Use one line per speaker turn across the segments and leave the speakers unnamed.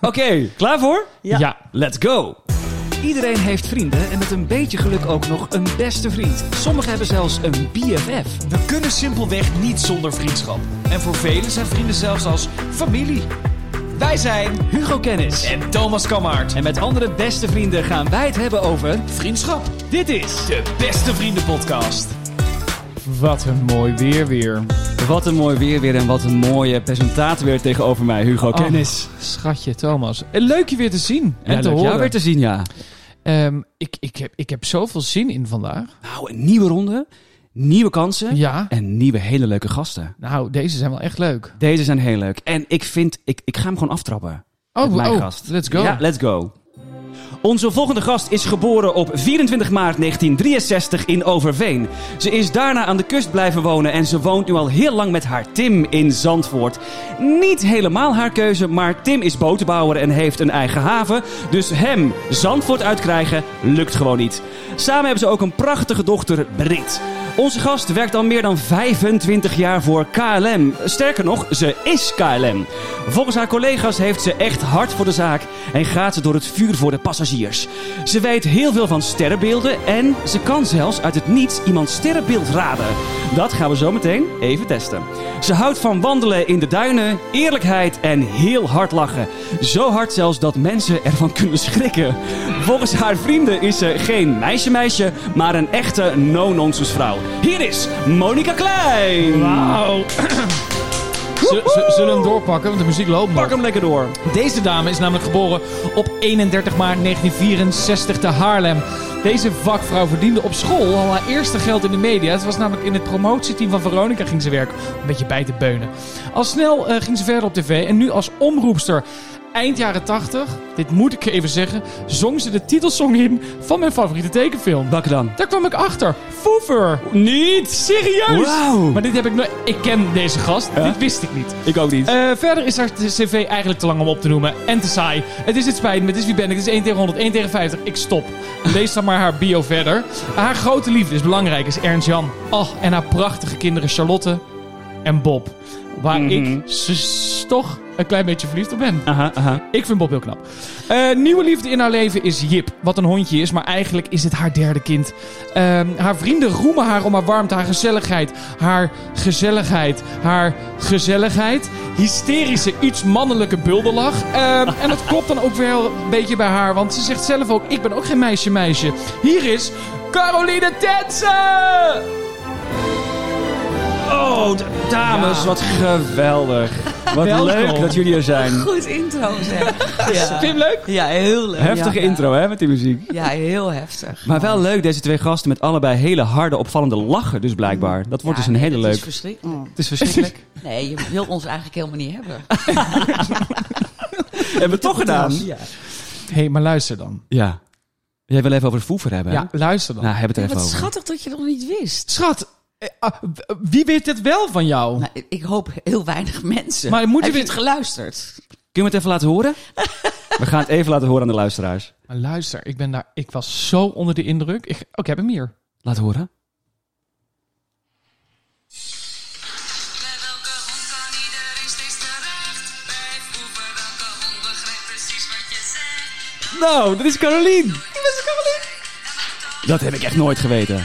Oké, klaar voor?
Ja.
Let's go!
Iedereen heeft vrienden en met een beetje geluk ook nog een beste vriend. Sommigen hebben zelfs een BFF.
We kunnen simpelweg niet zonder vriendschap. En voor velen zijn vrienden zelfs als familie. Wij zijn
Hugo Kennis.
en Thomas Kammaert.
En met andere beste vrienden gaan wij het hebben over...
Vriendschap,
Dit is...
de beste vriendenpodcast.
Wat een mooi weer weer.
Wat een mooi weer weer en wat een mooie presentator weer tegenover mij,
Oh,
Hugo Kennis.
Ah, Schatje Thomas. Eh, Leuk je weer te zien en
ja,
te
leuk
horen.
jou weer te zien, ja.
Ehm, ik, ik, heb, ik heb zoveel zin in vandaag.
Nou, een nieuwe ronde, nieuwe kansen
Ja.
en nieuwe hele leuke gasten.
Nou, deze zijn wel echt leuk.
Deze zijn heel leuk. En ik vind, ik, ik ga hem gewoon aftrappen.
Oh,
met mijn
oh,
gast.
let's go.
Ja, let's go. Onze volgende gast is geboren op 24 maart 1963 in Overveen. Ze is daarna aan de kust blijven wonen en ze woont nu al heel lang met haar Tim in Zandvoort. Niet helemaal haar keuze, maar Tim is botenbouwer en heeft een eigen haven. Dus hem Zandvoort uitkrijgen lukt gewoon niet. Samen hebben ze ook een prachtige dochter, Brit. Onze gast werkt al meer dan 25 jaar voor KLM. Sterker nog, ze is KLM. Volgens haar collega's heeft ze echt hart voor de zaak en gaat ze door het vuur voor de passagiers. Ze weet heel veel van sterrenbeelden en ze kan zelfs uit het niets iemands sterrenbeeld raden. Dat gaan we zo meteen even testen. Ze houdt van wandelen in de duinen, eerlijkheid en heel hard lachen. Zo hard zelfs dat mensen ervan kunnen schrikken. Volgens haar vrienden is ze geen meisje-meisje, maar een echte no-nonsense vrouw. Hier is Monica Klein.
Wauw. Z- z- Zullen we hem doorpakken? Want de muziek loopt nog.
Pak hem lekker door.
Deze dame is namelijk geboren op 31 maart 1964 te Haarlem. Deze vakvrouw verdiende op school al haar eerste geld in de media. Het was namelijk in het promotieteam van Veronica ging ze werken. Een beetje bij te beunen. Al snel eh, ging ze verder op tv en nu als omroepster. Eind jaren 80, dit moet ik even zeggen, zong ze de titelsong in van mijn favoriete tekenfilm.
Bakken dan.
Daar kwam ik achter. Foever.
Niet!
Serieus?
Wauw.
Maar dit heb ik nooit... Ik ken deze gast.
Ja?
Dit wist ik niet.
Ik ook niet.
Eh, verder is haar cv eigenlijk te lang om op te noemen. En te saai. Het is het spijt me, het is wie ben ik. Het is 1 tegen 100, 1 tegen 50. Ik stop. Lees dan maar haar bio verder. Haar grote liefde is belangrijk, is Ernst Jan. Oh, en haar prachtige kinderen Charlotte en Bob. Waar
Mhm.
ik s- toch een klein beetje verliefd op ben.
Aha, aha.
Ik vind Bob heel knap. Eh, nieuwe liefde in haar leven is Jip. Wat een hondje is, maar eigenlijk is het haar derde kind. Ehm, haar vrienden roemen haar om haar warmte, haar gezelligheid. Haar gezelligheid. Haar gezelligheid. Hysterische, iets mannelijke bulderlach. Ehm, en dat klopt dan ook wel een beetje bij haar. Want ze zegt zelf ook, ik ben ook geen meisje meisje. Hier is Caroline Tensen!
Oh, d- dames,
Ja.
wat geweldig. Wat
Welkom.
leuk dat jullie er zijn.
Goed intro zeg. Ja,
Vind je hem leuk?
ja heel leuk.
Heftige
Ja.
intro, hè, met die muziek.
Ja, heel heftig.
Maar wel leuk, deze twee gasten met allebei hele harde, opvallende lachen, dus blijkbaar. Dat wordt
Ja,
dus een
nee,
hele
dat
leuk. Oh.
is verschrikkelijk.
Het is verschrikkelijk.
Nee, je wil ons eigenlijk helemaal niet hebben.
Hebben we het toch gedaan?
Ja.
Hé, hey, maar luister dan.
Ja. Jij wil even over Foever hebben? hè?
Ja, luister dan.
Nou, hebben we het er
Wat
even over.
schattig dat je dat nog niet wist.
Schat, eh, ah, w- wie weet het wel van jou?
Nou, ik hoop heel weinig mensen.
Maar moet je
Heb je
dit-
het geluisterd?
Kunnen we het even laten horen? we gaan het even laten horen aan de luisteraars.
Maar luister, ik ben daar. Ik was zo onder de indruk. Ik, oh, ik heb hem hier.
Laat horen.
Bij welke hond kan iedereen steeds terecht? Bij vroeger welke hond begrijpt precies wat je zegt?
Nou, dat is Caroline. Dat heb ik echt nooit geweten.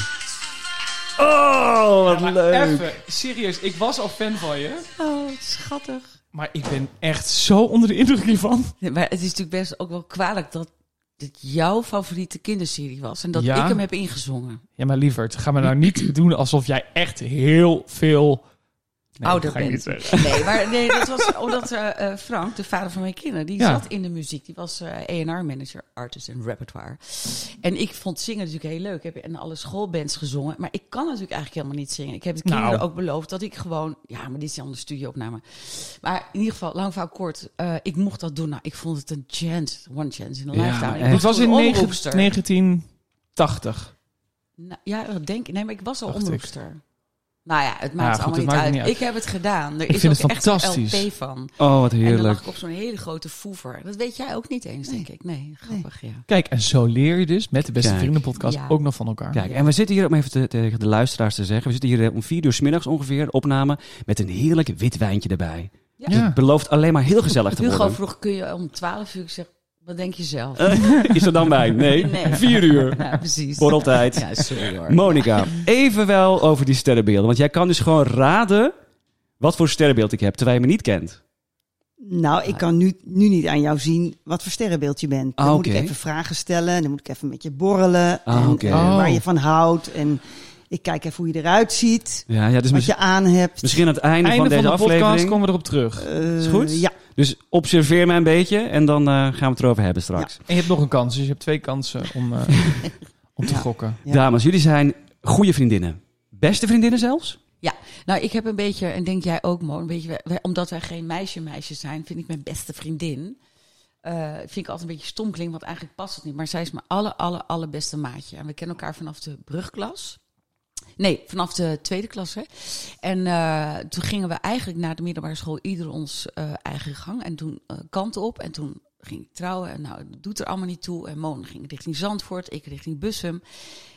Oh, wat leuk.
Even, serieus, ik was al fan van je.
Oh, wat schattig.
Maar ik ben echt zo onder de indruk hiervan.
Nee, maar het is natuurlijk best ook wel kwalijk dat dit jouw favoriete kinderserie was. En dat
Ja.
ik hem heb ingezongen.
Ja, maar lieverd, ga me nou niet doen alsof jij echt heel veel. Nee,
Ouder
dat ga ik
bent.
niet zeggen.
Nee, maar nee, dat was omdat eh, eh, Frank, de vader van mijn kinderen, die
Ja.
zat in de muziek. Die was eh, ENR-manager, artist en repertoire. En ik vond zingen natuurlijk heel leuk. Ik heb in alle schoolbands gezongen. Maar ik kan natuurlijk eigenlijk helemaal niet zingen. Ik heb de
Nou.
kinderen ook beloofd dat ik gewoon... Ja, maar dit is dan de studioopname. Maar in ieder geval, lang verhaal kort. eh, ik mocht dat doen. Nou, ik vond het een chance. One chance in a
Ja,
lifetime. Ik
echt.
Het was in
toen
negen-
omroepster.
1980.
Nou, ja, dat denk ik. Nee, maar ik was al
Dacht
omroepster. Nou ja, het maakt
goed,
allemaal
het
niet,
maakt
uit.
niet uit.
Ik heb het gedaan. Er
Ik
is
vind
ook
het
echt een
fantastisch.
LP van.
Oh, wat
En dan
heerlijk.
lag ik op zo'n hele grote voever. Dat weet jij ook niet eens, denk ik. Nee, grappig, ja.
Kijk, en zo leer je dus met de Beste
Kijk.
Vriendenpodcast
Ja.
ook nog van elkaar.
Kijk, en we zitten hier, om even te- tegen de luisteraars te zeggen, we zitten hier eh, om vier uur 's middags ongeveer, opname, met een heerlijk wit wijntje erbij.
Ja.
Dus het belooft alleen maar heel gezellig te
Hugo
worden.
vroeg, kun je om 12 uur zeggen, wat denk je zelf?
Eh, Is er dan wijn? Nee.
Nee.
Vier uur.
Ja, precies.
Borreltijd.
Ja, sorry hoor.
Monika, even wel over die sterrenbeelden. Want jij kan dus gewoon raden wat voor sterrenbeeld ik heb, terwijl je me niet kent.
Nou, ik kan nu, nu niet aan jou zien wat voor sterrenbeeld je bent. Dan
Ah,
moet ik
oké.
even vragen stellen. Dan moet ik even met je borrelen.
Ah,
en,
oké.
eh,
Oh.
Waar je van houdt. En ik kijk even hoe je eruit ziet.
Ja, ja dus
Wat
misschien,
je aan hebt.
misschien aan het einde,
Einde van,
van
de
deze
podcast
aflevering.
komen we erop terug.
Eh,
Is goed?
Ja.
Dus observeer mij een beetje en dan eh, gaan we het erover hebben straks.
En je hebt nog een kans, dus je hebt twee kansen om, eh, om te
Ja.
gokken.
Ja.
Dames, jullie zijn goede vriendinnen. Beste vriendinnen zelfs?
Nou, ik heb een beetje, en denk jij ook, Mo, een beetje, wij- wij- omdat wij geen meisje-meisjes zijn, vind ik mijn beste vriendin. eh, vind ik altijd een beetje stom klinken, want eigenlijk past het niet. Maar zij is mijn alle, alle, allerbeste maatje. En we kennen elkaar vanaf de brugklas. Nee, vanaf de tweede klas. Hè. En eh, toen gingen we eigenlijk na de middelbare school ieder ons eh, eigen gang. En toen eh, kant op. En toen ging ik trouwen. En nou, het doet er allemaal niet toe. En Mona ging richting Zandvoort, ik richting Bussum.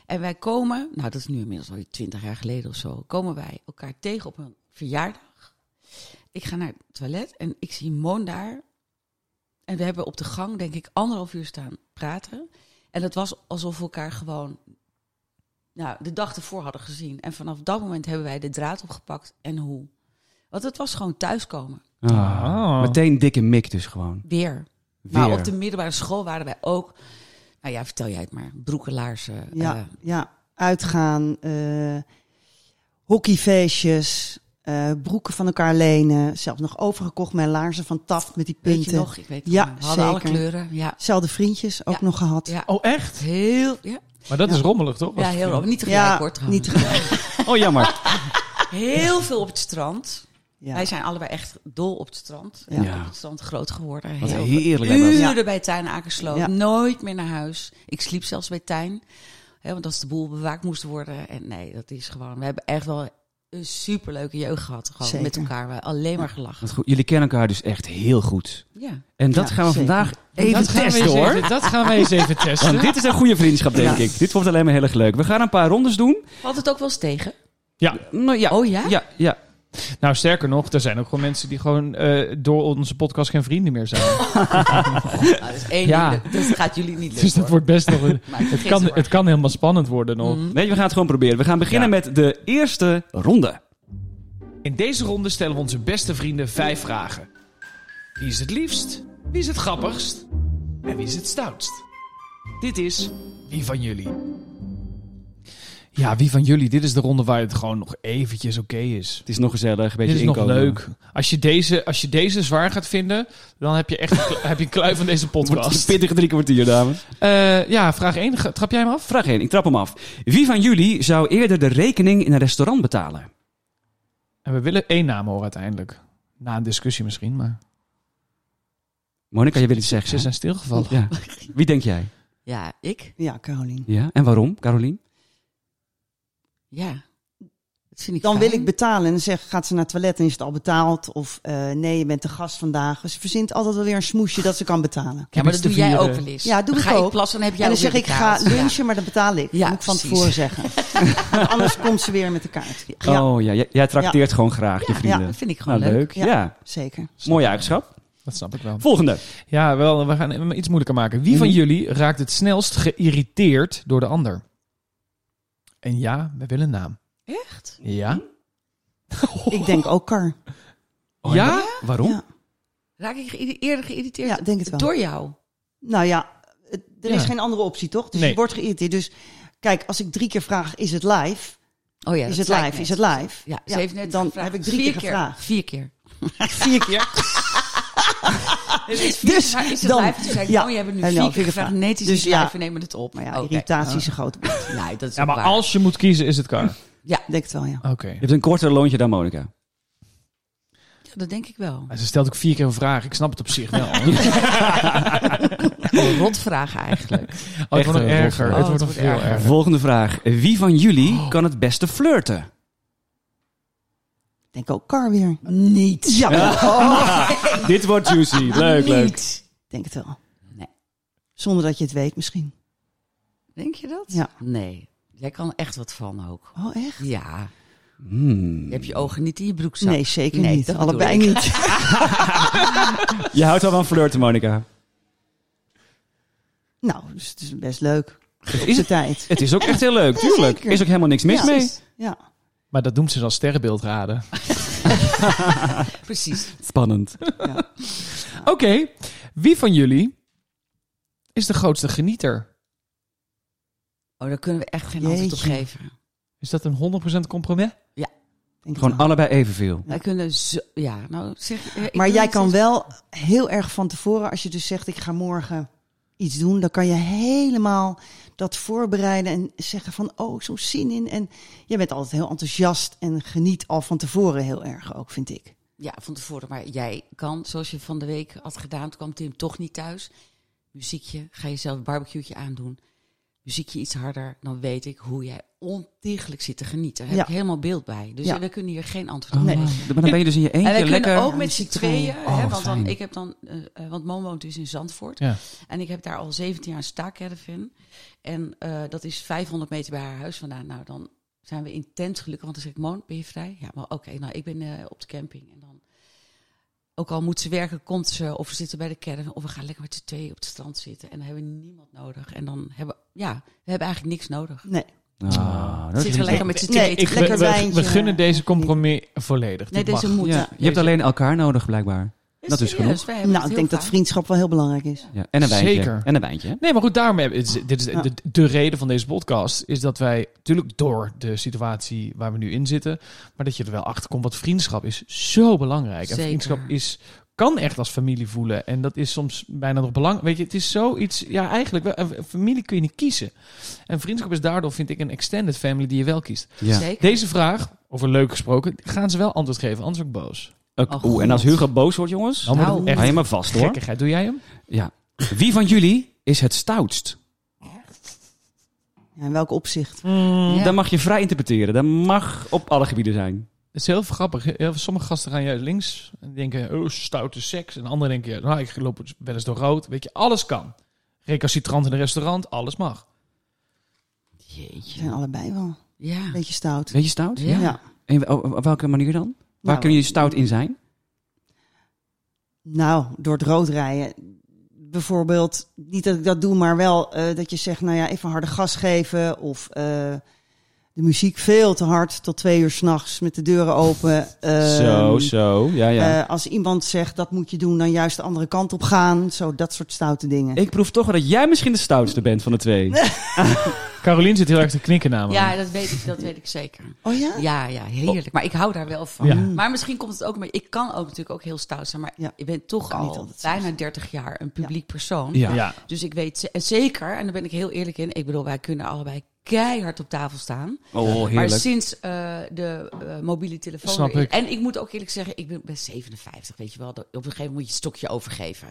En wij komen, nou dat is nu inmiddels alweer twintig jaar geleden of zo, komen wij elkaar tegen op een verjaardag. Ik ga naar het toilet en ik zie Moon daar. En we hebben op de gang, denk ik, anderhalf uur staan praten. En dat was alsof we elkaar gewoon nou, de dag ervoor hadden gezien. En vanaf dat moment hebben wij de draad opgepakt en hoe. Want het was gewoon thuiskomen.
Ah.
Meteen dikke mik dus gewoon.
Weer.
Weer.
Maar op de middelbare school waren wij ook. Nou ja, vertel jij het maar. Broekelaarsen.
Ja,
eh,
ja. uitgaan, eh, hockeyfeestjes, eh, broeken van elkaar lenen. Zelfs nog overgekocht mijn laarzen van Taft met die punten.
weet je nog? Ik weet het
Ja,
niet. We hadden alle
zeker.
kleuren. Ja.
Zelfde vriendjes ook
Ja.
nog gehad.
ja.
Oh, echt?
Heel, ja,
Maar dat
Ja.
is rommelig, toch?
ja heel Niet tegelijk
Ja,
hoor, trouwens.
niet tegelijk.
Oh, jammer.
Heel veel op het strand.
Ja.
Wij zijn allebei echt dol op het strand.
Ja.
Ja. Op het strand groot geworden.
Wat
Heel
heerlijk. hè, dat.
Uren
Ja.
bij Tijn Akersloot.
Ja.
Nooit meer naar huis. Ik sliep zelfs bij Tijn. Hè, want als de boel bewaakt moest worden. En nee, dat is gewoon. We hebben echt wel een superleuke jeugd gehad. Gewoon
Zeker.
met elkaar. We hebben alleen maar gelachen.
Wat goed. Jullie kennen elkaar dus echt heel goed.
Ja.
En dat
Ja,
gaan we
zeker.
vandaag
Dat
even
gaan we
testen
eens
hoor.
even- dat gaan we eens even testen.
Want dit is een goede vriendschap, denk
Ja.
ik. Dit wordt alleen maar heel erg leuk. We gaan een paar rondes doen.
Valt het ook wel eens tegen?
Nou ja.
Oh ja?
Ja, ja.
Nou, sterker nog, er zijn ook gewoon mensen die gewoon eh, door onze podcast geen vrienden meer zijn.
Nou, dat is één
Ja.
ding. Dat, dat gaat jullie niet lukken.
dus dat
hoor.
wordt best nog een...
Maar het
Het kan, het kan helemaal spannend worden nog.
Nee, we gaan het gewoon proberen. We gaan beginnen met de eerste ronde.
In deze ronde stellen we onze beste vrienden vijf vragen. Wie is het liefst? Wie is het grappigst? En wie is het stoutst? Dit is Wie van jullie?
Ja, wie van jullie? Dit is de ronde waar het gewoon nog eventjes oké is.
Het is nog gezellig, een beetje
Dit is nog
inkomen.
leuk. Als je, deze, als je deze zwaar gaat vinden, dan heb je echt een kl- heb je een kluif van deze
Het wordt een
podcast.
pittige drie kwartier, dames.
Eh, ja, vraag 1. Trap jij hem af?
Vraag 1, ik trap hem af. Wie van jullie zou eerder de rekening in een restaurant betalen?
En we willen één naam horen uiteindelijk. Na een discussie misschien, maar
Monika, jij wil iets
ze
zeggen. hè?
zijn stilgevallen.
Ja. Wie denk jij?
Ja, ik?
Ja, Caroline.
Ja. En waarom, Carolien?
Ja. Dat vind ik
Dan wil
fijn.
ik betalen en dan zeg, gaat ze naar het toilet en is het al betaald? Of eh, nee, je bent de gast vandaag. Dus Ze verzint altijd wel weer een smoesje dat ze kan betalen.
Ja, maar dat
te
Dus doe jij
vieren.
ook wel eens.
Ja, doe
Dan
ik
ga
ook.
ik plassen, dan heb jij
en dan
alweer
zeg ik, ga
betaald. Ja.
lunchen, maar dat betaal ik.
Ja,
Moet ik van
precies.
tevoren zeggen. Want anders komt ze weer met de kaart. Ja,
Oh ja, jij, jij trakteert gewoon graag je
Ja,
vrienden.
dat vind ik gewoon
nou, leuk.
leuk.
Ja.
Ja. zeker.
Mooie eigenschap.
Dat snap ik wel.
Volgende.
Ja, wel, we gaan hem iets moeilijker maken. Wie van jullie raakt het snelst geïrriteerd door de ander? En ja, we willen een naam.
Echt?
Ja?
Ik denk ook Kar.
ja?
Oh, Waarom?
Ja.
Raak ik geïrri- eerder geïrriteerd
Ja, denk het wel.
door jou?
Nou ja, het- er is
Ja.
geen andere optie, toch? Dus
Nee.
je wordt geïrriteerd. Dus kijk, als ik drie keer vraag, is het live?
Oh ja,
is
dat
het
zei ik
live?
net.
Is het live?
Ja, ze heeft net
Dan
gevraagd.
heb ik drie
Vier
keer gevraagd.
Vier keer.
Vier keer.
Dus, is vier
Dus
keer, maar is het
dan-
live? Toen zei ik,
ja.
oh, je hebt het nu
En
vier
dan
keer
vier keer
gevraagd.
vraag.
Nee, het is
Dus
niet
ja.
live, we nemen het op.
Maar ja,
Oké.
irritatie is een groot. woord.
Nee, dat is
Ja, maar
waar.
als je moet kiezen, is het Kar.
Ja,
Ik denk het wel, ja.
Oké.
Je hebt een korter loontje dan Monika.
ja, dat denk ik wel.
Ze stelt ook vier keer een vraag. Ik snap het op zich wel.
Een rotvraag eigenlijk.
Oh, het wordt nog
een
erger.
rotvraag.
het wordt nog veel erger.
Volgende vraag. Wie van jullie kan het beste flirten?
Ik denk ook Kar weer.
Niet.
Ja,
Dit wordt juicy. Leuk, leuk.
Niet.
ik denk het wel.
Nee.
Zonder dat je het weet misschien.
Denk je dat?
Ja.
Nee. Jij kan echt wat van ook.
Oh, echt?
Ja.
Hmm.
Je hebt je ogen niet in je broekzak.
Nee, zeker
Nee,
niet.
dat bedoel
Allebei
ik.
niet.
Je houdt wel van flirten, Monica.
nou, dus het is best leuk.
Het
Op
is,
zijn tijd.
het is ook echt heel leuk, tuurlijk.
zeker.
Is ook helemaal niks mis
Ja,
mee.
dus- Ja.
Maar dat noemt ze dan sterrenbeeldraden.
Precies.
Spannend.
Oké, wie van jullie is de grootste genieter?
Oh, daar kunnen we echt geen antwoord op
Jeetje.
geven.
Is dat een 100% compromis?
denk
Gewoon
het wel.
allebei evenveel.
Wij kunnen zo... Ja, nou zeg... eh, ik
Maar
wil
jij
iets
kan
zeggen.
wel heel erg van tevoren, als je dus zegt ik ga morgen iets doen, dan kan je helemaal dat voorbereiden en zeggen van oh, zo'n zin in. En je bent altijd heel enthousiast en geniet al van tevoren heel erg ook, vind ik.
Ja, van tevoren. Maar jij kan, zoals je van de week had gedaan, toen kwam Tim toch niet thuis. Muziekje, ga jezelf een barbecue'tje aandoen. Muziekje iets harder, dan weet ik hoe jij ontiegelijk zit te genieten. Daar heb
Ja.
ik helemaal beeld bij. Dus
Ja. Oh,
we kunnen hier geen antwoord op
Nee.
geven.
Maar dan ben je dus in je eentje
En wij kunnen
lekker...
ook met z'n
muziek
tweeën,
draaien.
hè,
Oh,
want dan,
fijn.
ik heb dan, eh, eh, want Mo woont dus in Zandvoort.
Ja.
En ik heb daar al 17 jaar een staakcaravan. En eh, dat is 500 meter bij haar huis vandaan. Nou, dan zijn we intens gelukkig, want dan zeg ik, Moon, ben je vrij? Ja, maar oké, nou, ik ben eh, op de camping. En dan, ook al moet ze werken, komt ze, of we zitten bij de caravan, of we gaan lekker met z'n tweeën op het strand zitten. En dan hebben we niemand nodig. En dan hebben we, ja, we hebben eigenlijk niks nodig.
Nee,
Ah, dat is
zitten we lekker met z'n
Nee,
tweeën te
ik-
genieten.
Lekker
we, we,
wijntje.
we gunnen deze compromis volledig.
Nee,
Dit
deze
mag.
moet.
Ja,
Ja,
je hebt alleen elkaar nodig, blijkbaar. dat is
serieus,
genoeg.
wij hebben
nou,
het heel
ik denk dat
vaak.
vriendschap wel heel belangrijk is.
Ja, en een wijntje.
Zeker.
En een wijntje.
Nee, maar goed, daarom heb, het is- dit is de,
Ja.
de, de reden van deze podcast is dat wij natuurlijk door de situatie waar we nu in zitten, maar dat je er wel achter komt. Want vriendschap is zo belangrijk.
Zeker.
En vriendschap is kan echt als familie voelen en dat is soms bijna nog belangrijk. Weet je, het is zoiets. Ja, eigenlijk wel, een familie kun je niet kiezen. En vriendschap is daardoor vind ik een extended family die je wel kiest.
Ja.
Zeker.
Deze vraag over leuk gesproken gaan ze wel antwoord geven, anders ook boos.
Ook-
Oh,
Oeh, en als
God.
Hugo boos wordt, jongens,
Dan wordt het
Nou.
hou
echt
je maar vast, hoor.
gekkigheid. Doe jij hem?
Ja. Wie van jullie is het stoutst?
Ja, in welk opzicht?
Ja.
Dat mag je vrij interpreteren. Dat mag op alle gebieden zijn.
Het is heel grappig. Heel veel- sommige gasten gaan juist links en denken, oh, stoute seks. En anderen denken, nou, ik loop wel eens door rood. Weet je, alles kan. Recalcitrant in een restaurant, alles mag.
We
Jeetje.
zijn allebei wel een
Ja.
beetje stout.
Weet je stout?
Ja.
En op op welke manier dan? Waar
Nou,
kun je stout in zijn?
Nou, door het rood rijden. Bijvoorbeeld, niet dat ik dat doe, maar wel eh, dat je zegt, nou ja, even harde gas geven. Of eh, de muziek veel te hard, tot twee uur s'nachts met de deuren open.
zo,
Ehm,
zo. Ja, ja.
eh, als iemand zegt, dat moet je doen, dan juist de andere kant op gaan. Zo, dat soort stoute dingen.
ik proef toch wel dat jij misschien de stoutste bent van de twee.
Caroline zit heel erg te knikken namelijk.
Ja, dat weet ik, dat weet ik zeker.
Oh ja?
Ja, ja,
Oh.
heerlijk. Maar ik hou daar wel van.
Ja.
Maar misschien komt het ook mee. Ik kan ook natuurlijk ook heel stout zijn, maar
Ja.
ik ben toch
Kan niet
al
altijd
bijna 30 jaar een publiek persoon.
Ja.
Ja.
Dus ik weet ze- en zeker, en daar ben ik heel eerlijk in. Ik bedoel, wij kunnen allebei keihard op tafel staan.
Oh,
Maar
heerlijk.
sinds eh, de eh, mobiele telefoon.
Snap
er is-
ik.
En ik moet ook eerlijk zeggen, ik ben, ben 57, weet je wel. Dat- Op een gegeven moment moet je het stokje overgeven.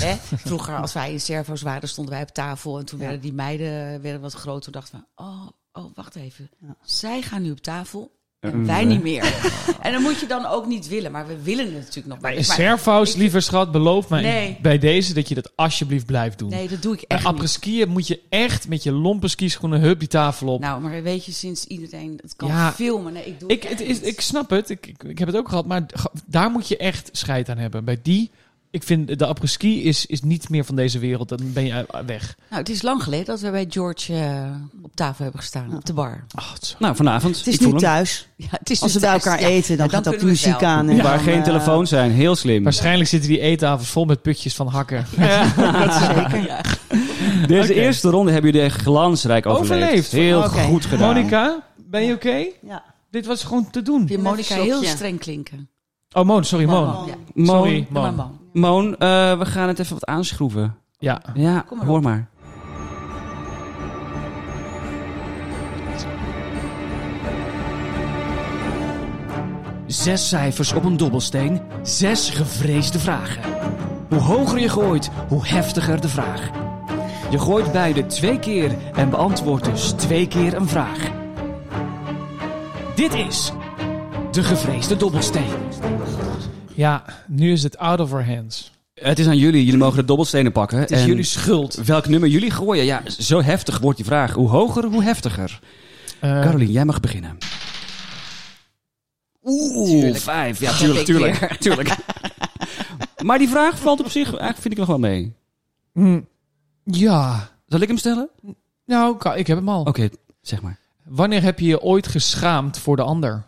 Hè? Vroeger, als wij in servo's waren, stonden wij op tafel. En toen werden die meiden werden wat groter. Toen dachten we, oh, oh wacht even. Zij gaan nu op tafel. En
Mm.
Eh,
wij
eh.
niet meer. en dan moet je dan ook niet willen. Maar we willen het natuurlijk nog
Maar
wel eens, maar-
Servaus,
ik-
liever schat, beloof mij
Nee.
bij deze dat je dat alsjeblieft blijft doen.
Nee, dat doe ik
Bij
echt niet.
après-skiën moet je echt met je lompe skischoenen hup die tafel op.
Nou, maar weet je, sinds iedereen het kan
Ja.
filmen. Nee, ik doe
ik,
het
het
echt
is,
niet.
ik snap het, ik, ik, ik heb het ook gehad, maar ga- daar moet je echt scheid aan hebben. Bij die, ik vind de après-ski is, is niet meer van deze wereld, dan ben je eh, weg.
Nou, het is lang geleden dat we bij George eh, op tafel hebben gestaan, op de bar.
Ach, het is
Nou, vanavond.
Het is
ik voel
nu
hem.
thuis.
Ja, het is
Als we
dus
bij
thuis,
elkaar
ja.
eten, dan
Ja,
gaat ook de
kunnen we het
muziek
wel.
aan. En
Waar
dan,
geen
eh,
telefoons zijn. Heel slim.
Waarschijnlijk zitten die eettafels vol met putjes van hakken.
Deze
Oké.
eerste ronde hebben jullie echt glansrijk overleefd.
Overleefd.
Heel
Oké.
goed gedaan.
Eh, Monica, ben je oké?
Ja.
Dit was gewoon te doen.
Je Monica
Even een
heel
slokje.
streng klinken.
Oh, Moon, sorry, Moon.
Moon, ja.
Moon,
Sorry,
Doe maar
Moon.
Moon.
Moon eh, we gaan het even wat aanschroeven.
Ja.
Ja,
Kom maar
hoor
op.
maar.
Zes cijfers op een dobbelsteen, zes gevreesde vragen. Hoe hoger je gooit, hoe heftiger de vraag. Je gooit beide twee keer en beantwoordt dus twee keer een vraag. Dit is de gevreesde dobbelsteen.
ja, nu is het out of our hands.
Het is aan jullie. Jullie mogen de dobbelstenen pakken.
Het is
En
jullie schuld.
Welk nummer jullie gooien? Ja, zo heftig wordt die vraag. Hoe hoger, hoe heftiger.
Eh,
Caroline, jij mag beginnen. Oeh, vijf. Ja,
heb
tuurlijk,
ik
tuurlijk,
weer.
tuurlijk. maar die vraag valt op zich, eigenlijk vind ik nog wel mee.
Hm. Ja.
Zal ik hem stellen?
Nou, ka- ik heb hem al.
Oké, zeg maar.
Wanneer heb je je ooit geschaamd voor de ander?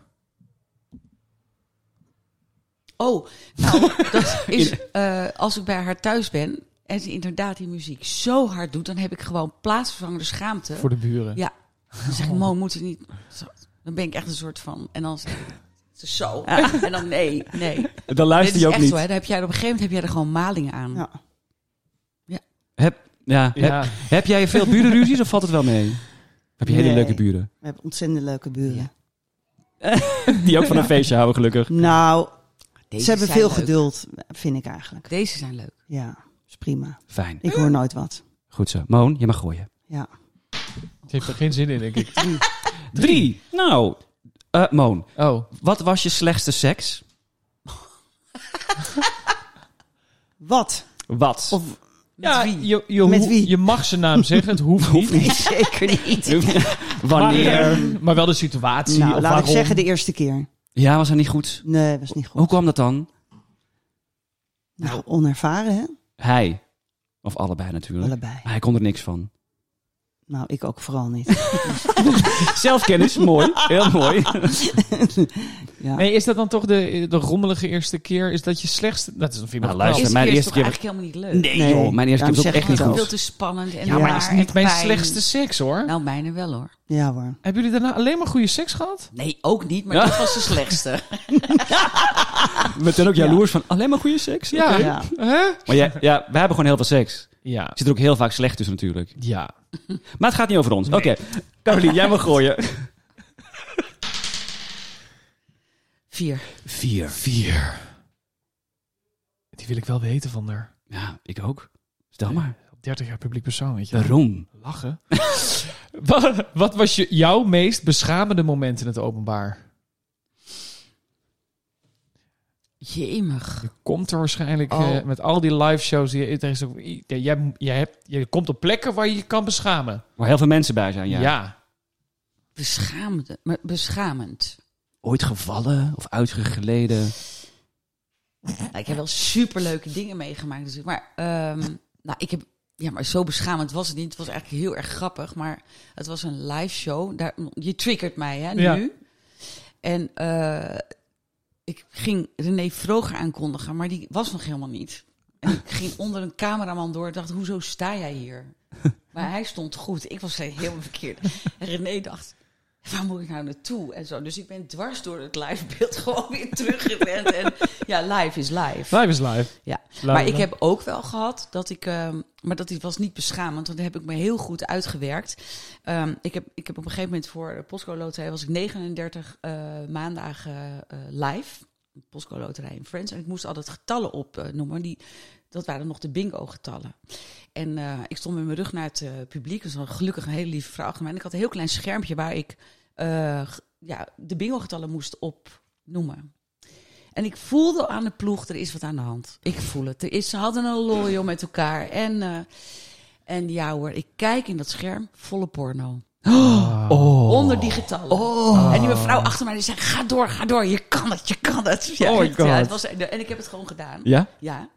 Oh, nou, dat is eh, als ik bij haar thuis ben en ze inderdaad die muziek zo hard doet, dan heb ik gewoon plaatsvervangende schaamte.
Voor de buren?
Ja. Dan zeg ik, Mo, moet je niet... Zo. Dan ben ik echt een soort van... En dan zeg ik, het is zo. En dan nee, nee.
Dan
Dit
luister
is
je ook
echt
niet.
zo, hè. Dan heb jij, op een gegeven moment heb jij er gewoon malingen aan.
Ja.
Heb, ja,
Ja.
Heb, heb jij veel burenruzies of valt het wel mee? Heb je hele
Nee.
leuke buren?
We hebben ontzettend leuke buren.
Ja.
Die ook van een feestje houden, gelukkig.
Nou,
Deze
ze hebben
zijn
veel
leuk.
geduld, vind ik eigenlijk.
Deze zijn leuk.
Ja, is prima.
Fijn.
Ik hoor nooit wat.
Goed zo. Moon, je mag gooien.
Ja.
Het heeft er geen zin in, denk ik.
Drie. Nou, eh, Moon,
Oh.
wat was je slechtste seks?
Wat?
Wat?
Of
ja, Je, je,
Met
hoe-
wie?
je mag zijn naam zeggen, het hoeft niet.
nee, zeker niet.
Wanneer?
Maar, maar wel de situatie.
Nou,
of
laat
waarom.
ik zeggen de eerste keer.
Ja, was dat niet goed?
Nee, was niet goed.
Hoe kwam dat dan?
Nou, onervaren, hè?
Hij. Of allebei natuurlijk.
Allebei.
Maar hij kon er niks van.
Nou, ik ook vooral niet.
Zelfkennis, mooi. Heel mooi.
Ja.
Nee, is dat dan toch de, de rommelige eerste keer? Is dat je slechtste? Dat is een vind ik
Nou,
wel
luister,
knap.
Eerste
mijn
keer is
eerste
toch
keer...
eigenlijk helemaal niet leuk.
Nee,
Nee.
joh. Mijn eerste keer
Daarom
was ook
zeg
echt
ik
niet
het
Veel
goed.
te spannend. En
Ja, maar dat is
raar
niet
en
mijn
pijn.
slechtste seks hoor.
Nou, mijne wel hoor.
Ja hoor.
Hebben jullie daarna alleen maar goede seks gehad?
Nee, ook niet, maar
Ja.
dat was de slechtste.
We zijn ook jaloers van alleen maar goede seks.
Ja.
Oké.
Ja.
Hè?
Maar ja, ja, wij hebben gewoon heel veel seks.
Ja.
Ik zit er ook heel vaak slecht tussen natuurlijk.
Ja.
Maar het gaat niet over ons. Oké, Carolien, jij mag gooien.
Vier.
Vier.
Vier. Die wil ik wel weten van haar.
Ja, ik ook. Stel maar.
30 jaar publiek persoon, weet je.
Waarom?
Lachen. wat, wat was je, jouw meest beschamende moment in het openbaar?
Jemig.
Je komt er waarschijnlijk
Oh.
eh, met al die live shows. Die, er is ook, i- jij, jij, hebt, je komt op plekken waar je je kan beschamen.
Waar heel veel mensen bij zijn, ja.
Beschaamde, maar beschamend.
Ooit gevallen of uitgegleden.
Nou, ik heb wel superleuke dingen meegemaakt natuurlijk. Maar, ehm, nou, ik heb, ja, maar zo beschamend was het niet. Het was eigenlijk heel erg grappig. Maar het was een live show. Daar, je triggert mij hè, nu.
Ja.
En eh, ik ging René Vroger aankondigen, maar die was nog helemaal niet. En ik ging onder een cameraman door en dacht, hoezo sta jij hier? Maar hij stond goed. Ik was helemaal verkeerd. En René dacht, waar moet ik nou naartoe? En zo. Dus ik ben dwars door het livebeeld gewoon weer teruggerend. En ja, live is live.
Live is live.
Ja.
Live
maar
is
ik
live.
heb ook wel gehad dat ik. ehm, maar dat dit was niet beschamend, want daar heb ik me heel goed uitgewerkt. Ehm, ik, heb, ik heb op een gegeven moment voor de Postco Loterij was ik 39 eh, maandagen eh, live. Postco Loterij in Friends. En ik moest altijd getallen opnoemen. die dat waren nog de bingo-getallen. En eh, ik stond met mijn rug naar het eh, publiek. Er was gelukkig een hele lieve vrouw achter mij. En ik had een heel klein schermpje waar ik eh, g- ja, de bingo-getallen moest opnoemen. En ik voelde aan de ploeg, er is wat aan de hand. Ik voel het. Er is, ze hadden een loyal met elkaar. En, eh, en ja hoor, ik kijk in dat scherm, volle porno.
Oh.
Oh. Onder die getallen. En die mevrouw achter mij die zei, ga door, ga door. Je kan het, je kan het. Ja,
Oh my
echt, ja, het
God.
was, en ik heb het gewoon gedaan.
Ja?
Ja.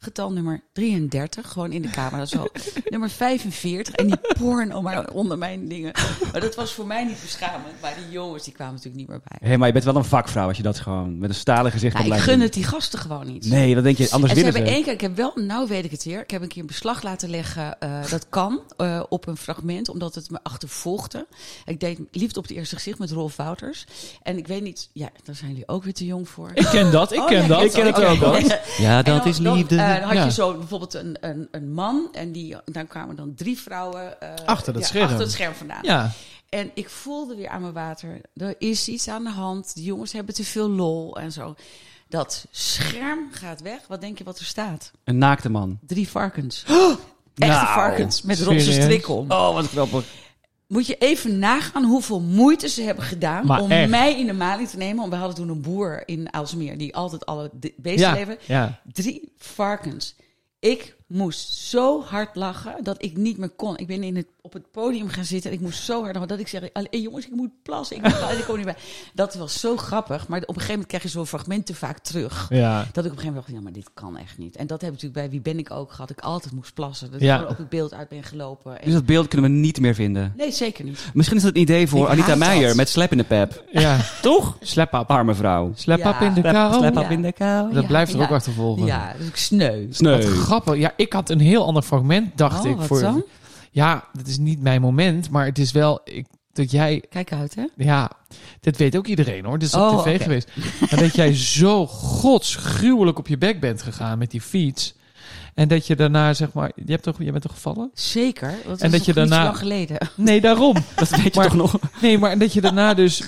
Getal nummer 33, gewoon in de camera zo. nummer 45 en die porno maar onder mijn dingen. Maar dat was voor mij niet beschamend, maar die jongens die kwamen natuurlijk niet meer bij.
Hé, maar je bent wel een vakvrouw als je dat gewoon met een stalen gezicht
Nou,
kan
ik
blijven
gun
doen.
het die gasten gewoon niet.
Nee, dat denk je, anders
En ze
winnen ze.
hebben één keer, ik heb wel, nou weet ik het weer, ik heb een keer een beslag laten leggen, eh, dat kan, eh, op een fragment, omdat het me achtervolgde. Ik deed Liefde op het eerste gezicht met Rolf Wouters. En ik weet niet, ja, daar zijn jullie ook weer te jong voor.
Ik ken dat, ik
Oh,
ken
ja,
dat.
ik ken het ook, hoor.
Ah,
Ja, dat
En
is liefde.
Dan, eh, dan had
Ja.
je zo bijvoorbeeld een, een, een man en die, dan kwamen dan drie vrouwen eh,
Achter dat
ja,
scherm.
achter het scherm vandaan.
Ja.
En ik voelde weer aan mijn water, er is iets aan de hand, die jongens hebben te veel lol en zo. Dat scherm gaat weg, wat denk je wat er staat?
Een naakte man.
Drie varkens. Echte
Nou,
varkens met roze
serieus?
strik om.
Oh, wat grappig.
Moet je even nagaan hoeveel moeite ze hebben gedaan
Maar
om
echt.
mij in de maling te nemen. Want we hadden toen een boer in Aalsmeer die altijd alle de- beesten
Ja,
leven.
ja.
Drie varkens. Ik moest zo hard lachen dat ik niet meer kon. Ik ben in het, op het podium gaan zitten en ik moest zo hard lachen dat ik zeg, "Allee, jongens, ik moet plassen, ik, moet plassen, ik kom niet bij. Dat was zo grappig, maar op een gegeven moment krijg je zo'n fragmenten vaak terug.
Ja.
Dat ik op een gegeven moment dacht, ja, maar dit kan echt niet. En dat heb ik natuurlijk bij Wie ben ik ook gehad. Ik altijd moest plassen. Dat
Ja.
ik gewoon op het beeld uit ben gelopen. En-
Dus dat beeld kunnen we niet meer vinden.
Nee, zeker niet.
Misschien is dat een idee voor
Ik
Anita
haat
Meijer
dat.
met slap in de pep.
Ja.
Toch?
Slap up.
Arme vrouw.
Slap
Ja.
up in de
Slap,
kou.
slap
Ja.
up in de kou.
Dat
Oh, Ja,
blijft er
ja.
ook achtervolgen.
Ja, dus ik sneu.
Sneu.
Wat grappig. Ja, ik had een heel ander fragment, dacht
Oh,
ik.
wat dan?
Ja, dat is niet mijn moment, maar het is wel ik, dat jij...
Kijk uit, hè.
Ja, dit weet ook iedereen hoor. Dit is
Oh,
op tv
oké.
geweest. Maar dat jij zo godsgruwelijk op je bek bent gegaan met die fiets. En dat je daarna zeg maar... Je, hebt toch, je bent toch gevallen?
Zeker. Dat was nog
dat je
niet zo
daarna-
lang geleden.
Nee, daarom.
Dat weet je
Maar-
toch nog?
Nee, maar dat je daarna dus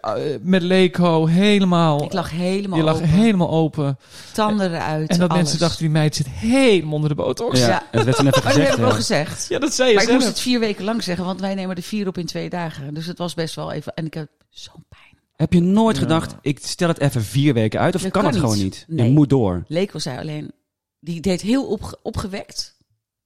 eh, eh, met Leco helemaal...
Ik lag helemaal
je lag
open.
helemaal open.
Tanden eruit.
En dat
alles.
mensen dachten, die meid zit helemaal onder de botox.
Ja,
Ja.
dat werd toen even
Oh, dat heb
gezegd.
ik wel
hè.
gezegd.
Ja, dat zei je
Maar ik
zelf.
moest het vier weken lang zeggen, want wij nemen er vier op in twee dagen. Dus het was best wel even. En ik heb zo'n pijn.
Heb je nooit gedacht, ik stel het even vier weken uit? Of
Dat
kan,
kan
het gewoon
niet.
niet?
Nee.
Je moet door.
Leek was hij alleen. Die deed heel opge- opgewekt.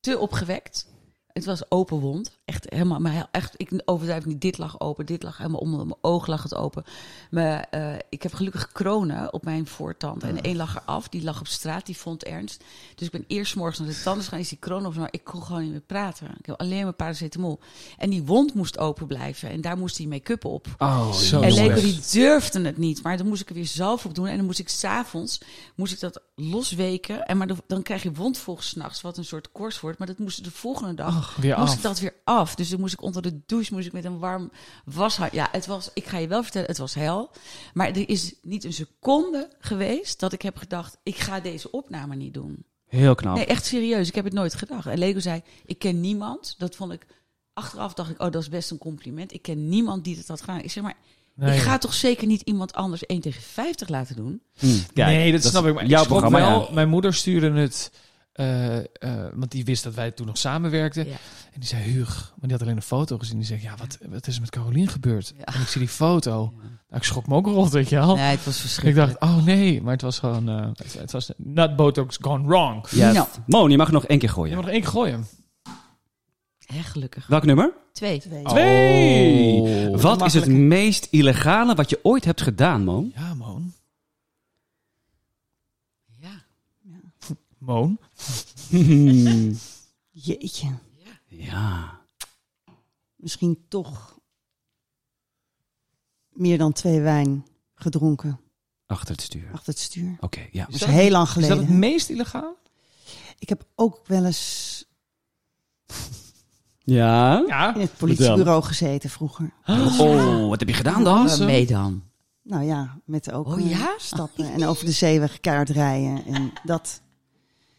Te opgewekt. Het was open wond. Echt helemaal. Maar heel- echt, ik overdrijf niet. Dit lag open. Dit lag helemaal onder mijn oog lag het open. Maar eh, ik heb gelukkig kronen op mijn voortand. En één lag eraf. Die lag op straat. Die vond ernst. Dus ik ben eerst 's morgens naar de tandarts gaan. Is die kroon op. Maar ik kon gewoon niet meer praten. Ik heb alleen maar paracetamol. En die wond moest open blijven. En daar moest die make-up op.
Oh,
Zo
En
jongens.
Lego die durfde het niet. Maar dan moest ik er weer zelf op doen. En dan moest ik s'avonds moest ik dat losweken. En maar dan- dan krijg je wondvolg s'nachts, wat een soort koorts wordt. Maar dat moest de volgende dag.
Oh, weer
moest
af.
ik dat weer af. Dus dan moest ik onder de douche, moest ik met een warm washoud. Ja, het was, ik ga je wel vertellen, het was hel. Maar er is niet een seconde geweest dat ik heb gedacht, ik ga deze opname niet doen.
Heel
Oh.
knap.
Nee, echt serieus. Ik heb het nooit gedacht. En Lego zei, ik ken niemand. Dat vond ik... Achteraf dacht ik, oh, dat is best een compliment. Ik ken niemand die dat had gedaan. Ik zeg maar,
Nee.
ik ga toch zeker niet iemand anders 1 tegen 50 laten doen?
Hm, kijk,
nee, dat,
is
snap ik. Maar
jouw
ik schrok
programma,
wel.
ja.
Mijn moeder stuurde het. eh, eh, want die wist dat wij toen nog samenwerkten.
Ja.
En die zei, Huug. Maar die had alleen een foto gezien. Die zegt, ja, wat, wat is er met Carolien gebeurd?
Ja.
En ik zie die foto. Nou, ik schrok me ook rot, weet je wel.
Nee, het was
Oh. ik
verschrikkelijk.
dacht, oh nee. Maar het was gewoon... eh, het, het was not botox gone wrong.
Ja.
Nou.
Moon, je mag er nog één keer
Je
gooien.
moet nog één keer gooien.
Hè, geluggig.
Welk nummer?
Twee.
Twee.
Oh.
Wat is het meest illegale wat je ooit hebt gedaan, Moon?
Ja, Moon.
Ja.
Moon.
Jeetje,
ja.
misschien toch meer dan twee wijn gedronken
Achter het stuur. Oké,
achter het stuur.
ja.
Dat is heel lang
Is
geleden.
dat het meest illegaal?
Ik heb ook wel eens
Ja?
Ja.
in het politiebureau gezeten vroeger.
Oh, wat heb je gedaan dan?
Waarmee dan?
Nou ja, met ook
Oh
eh,
ja?
stappen en over de zeeweg kaart rijden en dat.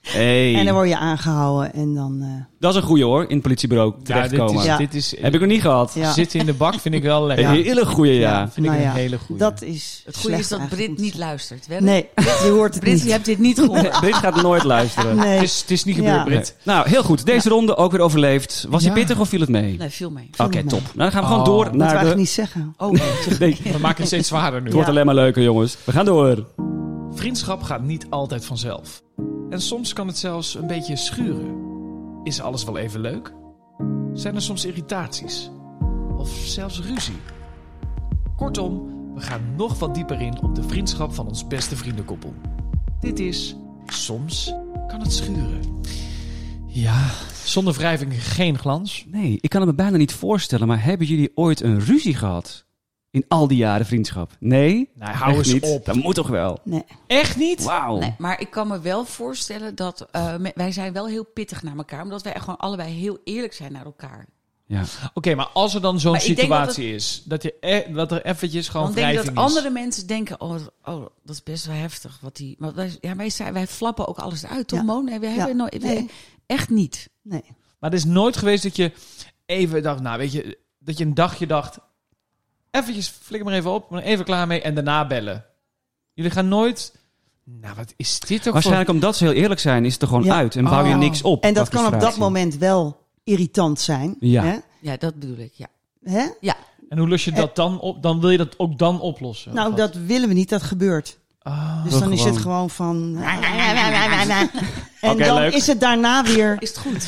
Hey.
En dan word je aangehouden en dan eh,
Dat is een goeie hoor, in het politiebureau
Ja, dit
terechtkomen.
is...
Ja.
Dit is
Heb ik nog niet gehad.
ja,
Zitten in de bak vind ik wel lekker.
Een hele goeie, ja.
Vind
Nou
ik
ja,
een hele goede.
dat is
Het goede is
slecht
dat Brit
eigenlijk.
niet luistert. Wedden?
Nee, je hoort het
Brit,
niet.
je hebt dit niet gehoord.
Brit gaat nooit luisteren.
Nee.
Het is, het is niet gebeurd,
Ja.
Brit.
Nou, heel goed. Deze ronde ook weer overleefd. Was hij
Ja.
pittig of viel het mee?
Nee, veel mee.
Oké,
viel het mee.
top. Nou, dan gaan we gewoon
Oh,
door
Dat
naar
wou ik
de...
niet zeggen.
Oh, nee.
Nee, het
We maken het steeds zwaarder nu.
wordt
Ja.
alleen maar leuker, jongens. We gaan door.
Vriendschap gaat niet altijd vanzelf. En soms kan het zelfs een beetje schuren. Is alles wel even leuk? Zijn er soms irritaties? Of zelfs ruzie? Kortom, we gaan nog wat dieper in op de vriendschap van ons beste vriendenkoppel. Dit is Soms kan het schuren. Ja, zonder wrijving geen glans.
Nee, ik kan het me bijna niet voorstellen, maar hebben jullie ooit een ruzie gehad? In al die jaren vriendschap? Nee?
Nou, hou
Echt
eens
niet.
op.
Dat moet toch wel?
Nee.
Echt niet?
Wauw.
Nee, maar ik kan me wel voorstellen dat eh, me- wij zijn wel heel pittig naar elkaar, omdat wij gewoon allebei heel eerlijk zijn naar elkaar.
Ja.
Oké, maar als er dan zo'n
Maar ik denk dat
situatie is, dat, je e- dat er eventjes gewoon
Dan denk ik
wrijving
dat
is.
andere mensen denken, oh, oh, dat is best wel heftig. Wat die, maar wij, ja, wij, zijn, wij flappen ook alles uit, toch
Ja.
Moon? Nee, we hebben
Ja.
nooit,
Nee.
Echt niet.
Nee.
Maar het is nooit geweest dat je even dacht, nou weet je, dat je een dagje dacht, eventjes flikker maar even op, maar even klaar mee en daarna bellen. Jullie gaan nooit, nou wat is dit toch
Waarschijnlijk omdat ze heel eerlijk zijn, is het er gewoon
Ja.
uit en bouw je
Oh.
niks op.
En dat
qua
kan op dat
frustratie.
moment wel irritant zijn.
Ja.
Hè?
Ja, dat bedoel ik, ja.
Hè?
voor... En hoe los je dat dan op? Dan wil je dat ook dan oplossen?
Nou,
Of wat? Ah.
dat willen we niet, dat gebeurt. Dus dan is het
gewoon-
gewoon van. eh, En
Oké,
dan
leuk.
is het daarna weer
Is het goed?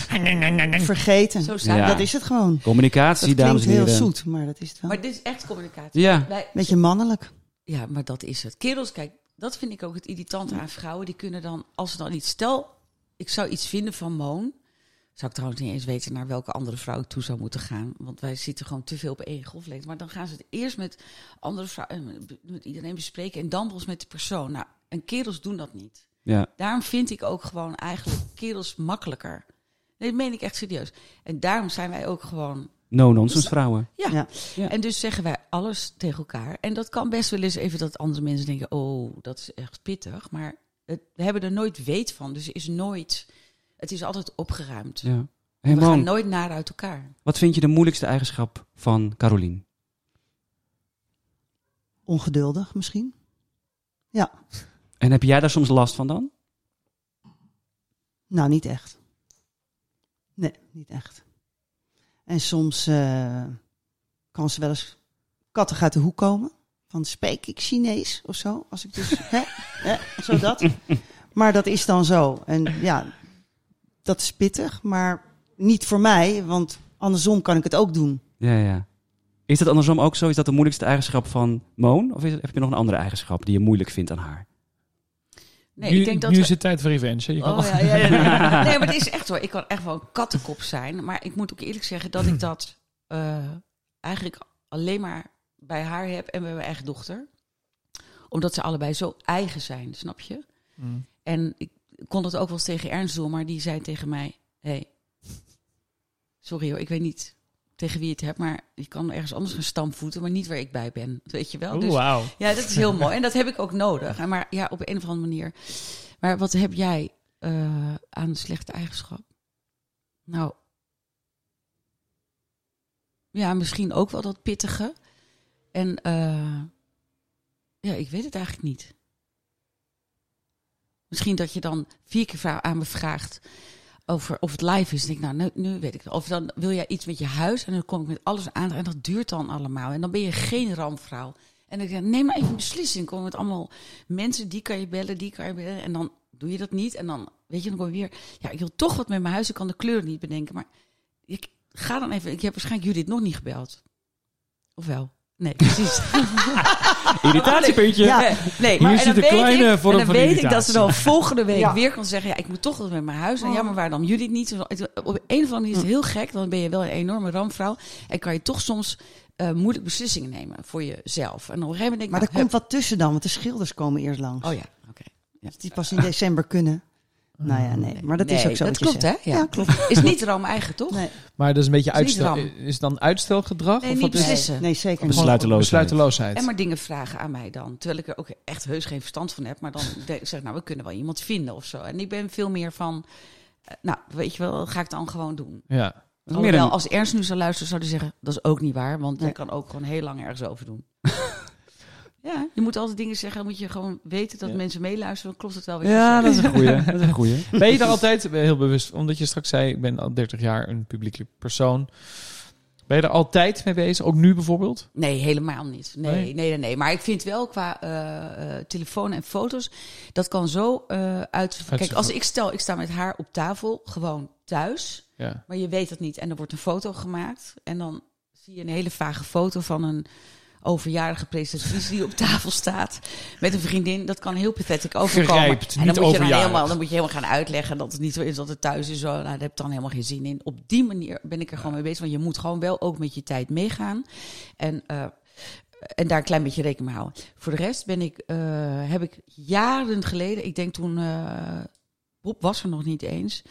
vergeten.
Zo saai.
Ja.
Dat is het gewoon.
Communicatie,
Dat
dames
klinkt
en
heel
heren.
zoet, maar dat is het wel.
Maar dit is echt communicatie.
Ja.
Wij-
Beetje mannelijk.
ja, maar dat is het. Kerels, kijk, dat vind ik ook het irritante aan vrouwen. Die kunnen dan, als ze dan iets... Stel, ik zou iets vinden van Moon. Zou ik trouwens niet eens weten naar welke andere vrouw ik toe zou moeten gaan. Want wij zitten gewoon te veel op één golflengte. Maar dan gaan ze het eerst met andere vrouwen, eh, met- met iedereen bespreken. En dan pas met de persoon. Nou, en kerels doen dat niet.
Ja.
Daarom vind ik ook gewoon eigenlijk kerels makkelijker. Nee, dat meen ik echt serieus. En daarom zijn wij ook gewoon.
No-nonsense vrouwen.
Ja.
Ja.
Ja.
En dus zeggen wij alles tegen elkaar. En dat kan best wel eens even dat andere mensen denken: oh, dat is echt pittig. Maar het, we hebben er nooit weet van. Dus er is nooit. Het is altijd opgeruimd.
Ja. Hey
dus we gaan
man,
nooit naar uit elkaar.
wat vind je de moeilijkste eigenschap van Caroline?
Ongeduldig misschien.
En heb jij daar soms last van dan?
Nou, niet echt. Nee, niet echt. En soms eh, kan ze wel eens kattig uit de hoek komen. Van spreek ik Chinees of zo? Als ik dus. hè, hè, zo dat. Maar dat is dan zo. En ja, dat is pittig, maar niet voor mij, want andersom kan ik het ook doen.
Ja, ja. Is dat andersom ook zo? Is dat de moeilijkste eigenschap van Moon? Of is het- heb je nog een andere eigenschap die je moeilijk vindt aan haar?
Nee,
nu
ik denk dat
nu
we-
is het tijd voor revenge. hè? Je kan
Oh,
wel-
ja, ja, ja, ja. Nee, maar het is echt hoor. Ik kan echt wel een kattenkop zijn. Maar ik moet ook eerlijk zeggen dat ik dat eh, eigenlijk alleen maar bij haar heb en bij mijn eigen dochter. Omdat ze allebei zo eigen zijn, snap je?
Mm.
En ik kon dat ook wel eens tegen Ernst doen, maar die zei tegen mij: hey, sorry hoor, ik weet niet tegen wie je het hebt, maar je kan ergens anders gaan stamvoeten, maar niet waar ik bij ben. Weet je wel?
Oh,
Dus-
Wauw.
ja, dat is heel mooi. En dat heb ik ook nodig. En Maar ja, op een of andere manier. Maar wat heb jij eh, aan slechte eigenschap? Nou. Ja, misschien ook wel dat pittige. En eh, ja, ik weet het eigenlijk niet. Misschien dat je dan vier keer vra- aan me vraagt over of het live is. Dan denk ik, nou, nu, nu weet ik het. Of dan wil jij iets met je huis en dan kom ik met alles aan. En dat duurt dan allemaal. En dan ben je geen rampvrouw. En ik zeg, neem maar even een beslissing. Kom met allemaal mensen, die kan je bellen, die kan je bellen. En dan doe je dat niet. En dan, weet je, dan kom je weer... Ja, ik wil toch wat met mijn huis. Ik kan de kleur niet bedenken. Maar ik ga dan even... Ik heb waarschijnlijk Judith nog niet gebeld. Of wel? Nee, precies.
Irritatiepuntje.
Ja.
Nee, nee, maar en
zit
dan
een
weet
kleine
ik,
vorm
en dan
van
weet ik
irritatie.
dat ze dan volgende week
Ja. Oh.
weer kan zeggen... ja, ik moet toch wat met mijn huis. En ja, maar waar dan? Jullie het niet. Op een of andere manier
Mm.
is het heel gek. Dan ben je wel een enorme rampvrouw. En kan je toch soms eh moeilijk beslissingen nemen voor jezelf. En op een gegeven moment denk ik...
Maar
nou,
er komt wat tussen dan, want de schilders komen eerst langs. Dus
hup. Oh ja, oké.
Die pas in december kunnen. Nou ja, nee, maar dat is
Nee,
ook zo.
Dat
wat je
klopt, hè?
zegt.
Ja. klopt. Is niet Rome eigen, toch?
Nee.
Maar dat is een beetje
Het is niet
uitstel.
ram.
Is het dan uitstelgedrag?
Nee,
of
niet
wat is het?
beslissen.
Nee, zeker niet.
Besluiteloosheid.
Besluiteloosheid.
En maar dingen vragen aan mij dan. Terwijl ik er ook echt heus geen verstand van heb. Maar dan denk ik, zeg, nou, we kunnen wel iemand vinden of zo. En ik ben veel meer van, eh, nou, weet je wel, dat ga ik dan gewoon doen.
Ja.
Alhoewel, als Ernst nu zou luisteren, zou hij zeggen, dat is ook niet waar. Want
Nee.
jij kan ook gewoon heel lang ergens over doen. ja, je moet altijd dingen zeggen. Dan moet je gewoon weten dat mensen meeluisteren. Dan klopt het wel weer.
Ja, dat is een goeie. dat is een goeie.
Ben je daar altijd, ben je heel bewust, omdat je straks zei, ik ben al 30 jaar een publieke persoon. Ben je er altijd mee bezig? Ook nu bijvoorbeeld?
Nee, helemaal niet. Nee,
Nee?
nee, nee, nee. Maar ik vind wel qua eh, eh, telefoon en foto's, dat kan zo eh uit.
Uit-
Kijk, als ik stel, ik sta met haar op tafel, gewoon thuis,
Ja.
maar je weet dat niet. En er wordt een foto gemaakt en dan zie je een hele vage foto van een overjarige presentatrice die op tafel staat met een vriendin. Dat kan heel pathetic overkomen.
Gerijpt,
en dan
niet
moet je dan
overjarig.
helemaal, dan moet je helemaal gaan uitleggen dat het niet zo is dat het thuis is. Zo, nou, daar heb ik dan helemaal geen zin in. Op die manier ben ik er gewoon mee bezig, want je moet gewoon wel ook met je tijd meegaan. En, eh, en daar een klein beetje rekening mee houden. Voor de rest ben ik, eh, heb ik jaren geleden, ik denk toen. eh Bob was er nog niet eens.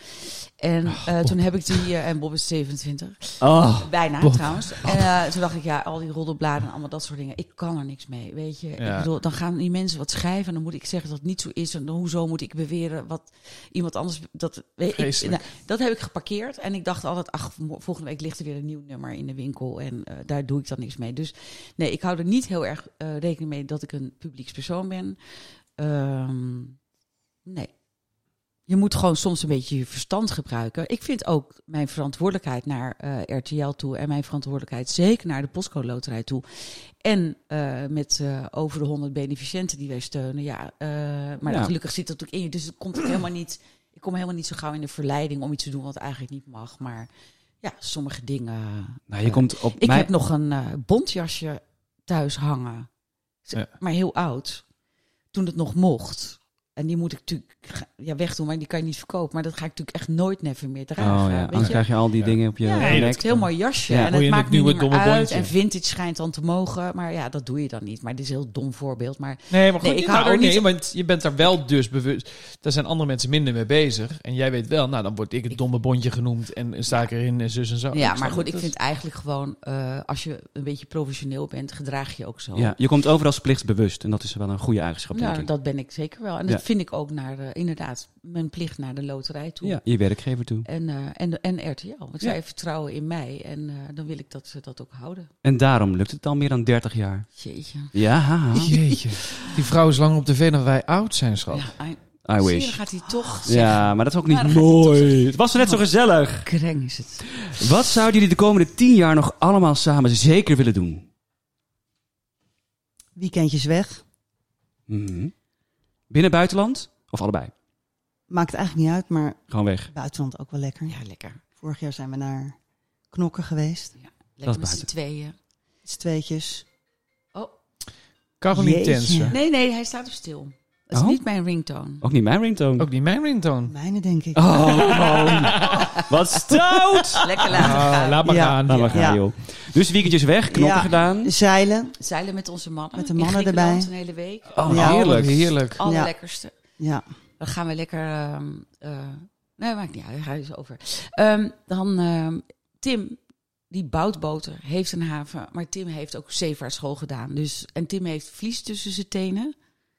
En eh, toen heb ik die. eh, en Bob is 27.
Oh.
Bijna trouwens. En, eh, toen dacht ik, ja, al die roddelbladen en allemaal dat soort dingen. Ik kan er niks mee, weet je.
Ja.
Ik bedoel, dan gaan die mensen wat schrijven en dan moet ik zeggen dat het niet zo is. En dan hoezo moet ik beweren wat iemand anders... Dat, weet ik,
Vreselijk.
nou, dat heb ik geparkeerd. En ik dacht altijd, ach, mo- volgende week ligt er weer een nieuw nummer in de winkel. En eh, daar doe ik dan niks mee. Dus nee, ik hou er niet heel erg eh, rekening mee dat ik een publieks persoon ben. Ehm, nee. je moet gewoon soms een beetje je verstand gebruiken. Ik vind ook mijn verantwoordelijkheid naar eh, RTL toe en mijn verantwoordelijkheid zeker naar de Postcode Loterij toe. En eh, met eh, over de 100 beneficiënten die wij steunen. Ja, eh, maar
Ja.
gelukkig zit dat natuurlijk in je. Dus het komt ook helemaal niet. Ik kom helemaal niet zo gauw in de verleiding om iets te doen wat eigenlijk niet mag. Maar ja, sommige dingen.
Nou, je komt op
Ik
mij...
heb nog een eh bontjasje thuis hangen. Z-
Ja.
Maar heel oud. Toen het nog mocht. En die moet ik natuurlijk ga- ja, wegdoen, maar die kan je niet verkopen. Maar dat ga ik natuurlijk echt nooit never meer dragen.
Oh ja,
weet
dan
je?
krijg je al die dingen op je
Ja,
nek.
het is een heel mooi jasje.
Ja.
En
Moet
het
je
maakt
het
nu
nieuwe
niet meer
domme
uit.
bondje.
En vintage schijnt dan te mogen. Maar ja, dat doe je dan niet. Maar dit is een heel dom voorbeeld. Maar
Nee, maar goed,
Nee, ik
nou,
hou er
nee,
niet-
want je bent daar wel dus bewust. Daar zijn andere mensen minder mee bezig. En jij weet wel, nou dan word ik het domme bondje genoemd en sta ik erin en zus en zo.
ja,
snap
maar goed,
het.
ik vind eigenlijk gewoon... eh, als je een beetje professioneel bent, gedraag je ook zo.
Ja, je komt overal plichtsbewust en dat is wel een goede eigenschap, denk
Nou,
ik.
dat ben ik zeker wel. En
Ja.
dat vind ik ook naar, eh, inderdaad, mijn plicht naar de loterij toe.
Ja, je werkgever toe.
En, eh, en, en RTL. Want zij vertrouwen in mij. En eh, dan wil ik dat ze dat ook houden.
En daarom lukt het al meer dan 30 jaar.
Jeetje.
Ja,
Ah, Jeetje, die vrouw is lang op tv dan wij oud zijn, schat.
Ja, I,
Oh. I
zie je, dan
wish.
gaat hij
Oh,
toch zeggen.
Ja, maar dat is ook niet
Maar dan gaat hij
mooi. Het was er net zo gezellig.
Kreng is het.
Wat zouden jullie de komende 10 jaar nog allemaal samen zeker willen doen?
Weekendjes weg.
Mhm. Binnen, buitenland? Of allebei?
Maakt eigenlijk niet uit, maar
Gewoon weg.
buitenland ook wel lekker.
Ja, lekker.
Vorig jaar zijn we naar Knokken geweest.
Lekker met
buiten.
z'n tweeën.
Het is tweetjes.
Oh,
Caroline
Jeetje.
Tensen.
nee, nee, hij staat op stil. Dat is
Oh?
niet mijn ringtone.
Ook niet mijn ringtone.
Ook niet mijn ringtone.
Mijne, denk ik.
Oh, man. Wat stout!
Lekker laten gaan.
Ah, laat maar
Ja.
gaan.
Nou, we gaan,
Ja.
joh. Dus weekendjes weg, knoppen
Ja.
gedaan.
Zeilen.
Zeilen met onze mannen.
Met de
In
mannen
Griekenland
erbij.
een hele week.
Oh,
Ja.
heerlijk.
Heerlijk.
Alle
Ja.
lekkerste.
Ja.
Dan gaan we lekker. ehm, eh, nee, maakt niet uit. Daar ga je zo over. Ehm, dan ehm, Tim, die bouwt boter, heeft een haven. Maar Tim heeft ook zeevaartschool gedaan. Dus, en Tim heeft vlies tussen zijn tenen.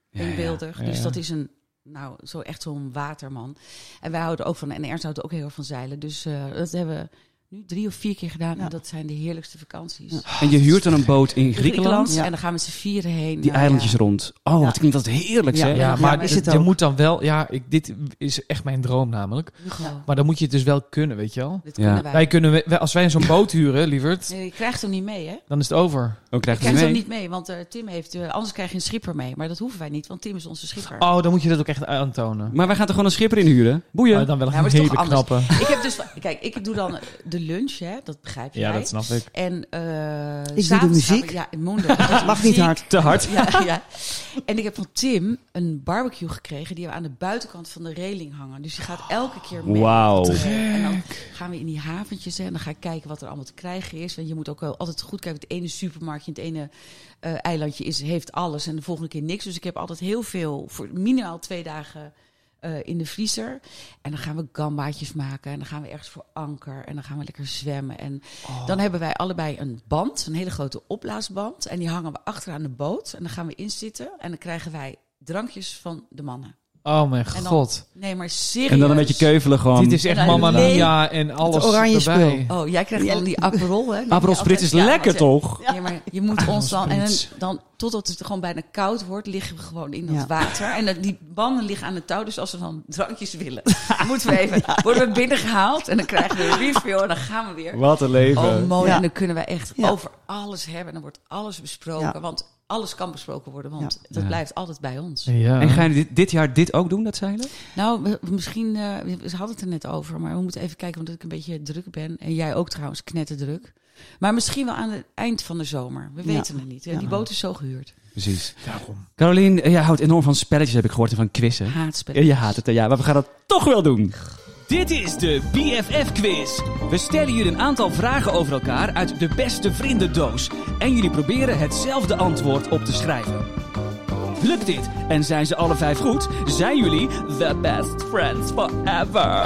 Ja, ja.
inbeeldig.
ja,
Dus
ja.
dat is een. Nou, zo echt zo'n waterman. En wij houden ook van. En Ernst houdt ook heel erg van zeilen. Dus eh, dat hebben we nu drie of vier keer gedaan.
Ja.
En dat zijn de heerlijkste vakanties.
Ja.
En je huurt dan een boot in Griekenland.
Ja.
En dan gaan we z'n vieren heen.
Die
Nou,
eilandjes
ja.
rond. Oh, wat klinkt dat heerlijk,
Ja.
zeg.
Ja,
Ja,
maar
maar is
d-
het
je
ook?
moet dan wel... Ja, ik, dit is echt mijn droom namelijk.
Hugo,
Maar dan moet je het dus wel kunnen, weet je wel.
dit
Ja.
kunnen wij.
Wij kunnen, wij- als wij zo'n boot huren, lieverd,
Nee, je krijgt hem niet mee, hè?
dan is het over.
Oh,
Ik
krijg je
krijg hem
mee?
niet mee, want eh, Tim heeft... eh, anders krijg je een schipper mee. Maar dat hoeven wij niet, want Tim is onze schipper.
Oh, dan moet je dat ook echt aantonen.
Maar wij gaan toch gewoon een schipper inhuren?
Maar
Boeien.
dan wel
Ja,
een
maar het is
hele
toch anders.
knappe.
Ik heb dus... Kijk, ik doe dan de lunch, hè? Dat begrijp je
Ja, dat snap ik.
En eh
de
s'avonds gaan
muziek.
we- ja, in Monden. Ik doe de
Mag niet
muziek.
hard.
Te hard.
Ja, ja. En ik heb van Tim een barbecue gekregen die we aan de buitenkant van de reling hangen. Dus die gaat elke keer mee.
Wauw.
Eh, En dan gaan we in die haventjes hè, en dan ga ik kijken wat er allemaal te krijgen is. Want je moet ook wel altijd goed kijken. Het ene supermarktje, het ene eh, eilandje is, heeft alles en de volgende keer niks. Dus ik heb altijd heel veel, voor minimaal twee dagen eh, in de vriezer. En dan gaan we gambaatjes maken en dan gaan we ergens voor anker en dan gaan we lekker zwemmen. En dan hebben wij allebei een band, een hele grote opblaasband. En die hangen we achteraan de boot en dan gaan we inzitten en dan krijgen wij drankjes van de mannen.
Oh mijn
dan-
god.
Nee, maar serieus.
En dan een beetje keuvelen gewoon.
Dit is echt
En
mama
alleen-
Mia en alles
oranje
erbij.
spul.
Oh, jij krijgt dan die Aperol, hè?
Aperol Spritz is lekker,
toch?
toch?
Nee, maar je moet ons dan... En
Spritz.
dan, totdat het gewoon bijna koud wordt, liggen we gewoon in dat
Ja.
water. En dat- die banden liggen aan het touw, dus als we dan drankjes willen, moeten we even... Worden we binnengehaald en dan krijgen we een refill en dan gaan we weer.
Wat een leven.
Oh, mooi.
Ja.
En dan kunnen we echt
Ja.
over alles hebben. En dan wordt alles besproken,
Ja.
want alles kan besproken worden. Want dat
Ja.
blijft altijd bij ons.
Ja.
En ga je dit, dit jaar dit ook doen, dat zeilen?
Nou, we- we- misschien... eh, we hadden het er net over, maar we moeten even kijken... omdat ik een beetje druk ben. En jij ook trouwens, knetterdruk. Maar misschien wel aan het eind van de zomer. We
Ja.
weten het niet. hè.
Ja.
Die boot is zo gehuurd.
Precies.
Daarom.
Caroline, eh, jij houdt enorm van spelletjes, heb ik gehoord, en van quizzen.
Haatspelen.
Eh, Je haat het, hè? ja, maar we gaan dat toch wel doen.
Dit is de BFF-quiz.
We stellen jullie een aantal vragen over elkaar uit de beste vriendendoos. En jullie proberen hetzelfde antwoord op te schrijven. Lukt dit en zijn ze alle vijf goed, zijn jullie the best friends forever.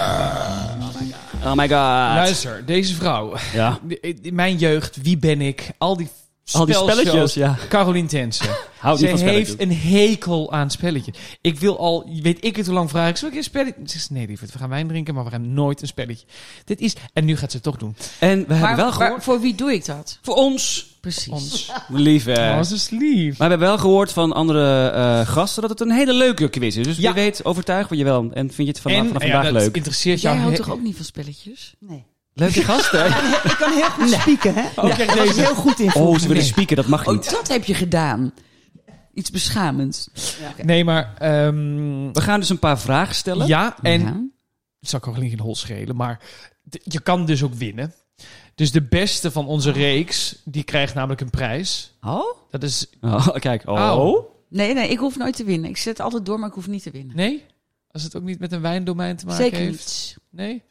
Oh my god.
Luister, deze vrouw.
Ja.
In mijn jeugd, wie ben ik? Al die
Al die spelletjes, ja.
Caroline Tensen.
Houd
Ze
niet Oh, van spelletjes.
heeft een hekel aan spelletjes. Ik wil al, weet ik het hoe lang vraag ik, zullen we een keer spelletje? Ze zegt, nee lieverd, we gaan wijn drinken, maar we gaan nooit een spelletje. Dit is, en nu gaat ze het toch doen.
En we
Maar
hebben wel gehoord...
waar- voor wie doe ik dat?
Voor ons...
Precies.
Ons.
Lief, hè?
Oh, ze is lief.
Maar we hebben wel gehoord van andere eh, gasten dat het een hele leuke quiz is. Dus
Ja.
wie weet, overtuig je wel. En vind je het vanaf,
en,
vanaf
ja,
vandaag
dat
leuk?
interesseert jou.
Jij houdt
he-
toch ook niet van spelletjes?
Nee.
Leuke gasten.
Ik kan heel goed spieken, hè?
Oh, kijk
Daar was ik
deze.
heel goed in.
Oh, ze
vroeger.
willen spieken, dat mag
Oh,
niet.
dat heb je gedaan. Iets beschamends.
Nee, maar, ehm,
We gaan dus een paar vragen stellen.
ja, en
Ja.
het zal Caroline geen hol schelen, maar d- je kan dus ook winnen. Dus de beste van onze reeks, die krijgt namelijk een prijs.
Oh?
Dat is...
Oh, kijk. Oh.
Nee, nee, ik hoef nooit te winnen. Ik zet altijd door, maar ik hoef niet te winnen.
Nee? Als het ook niet met een wijndomein te maken
Zeker
heeft?
niet.
Nee?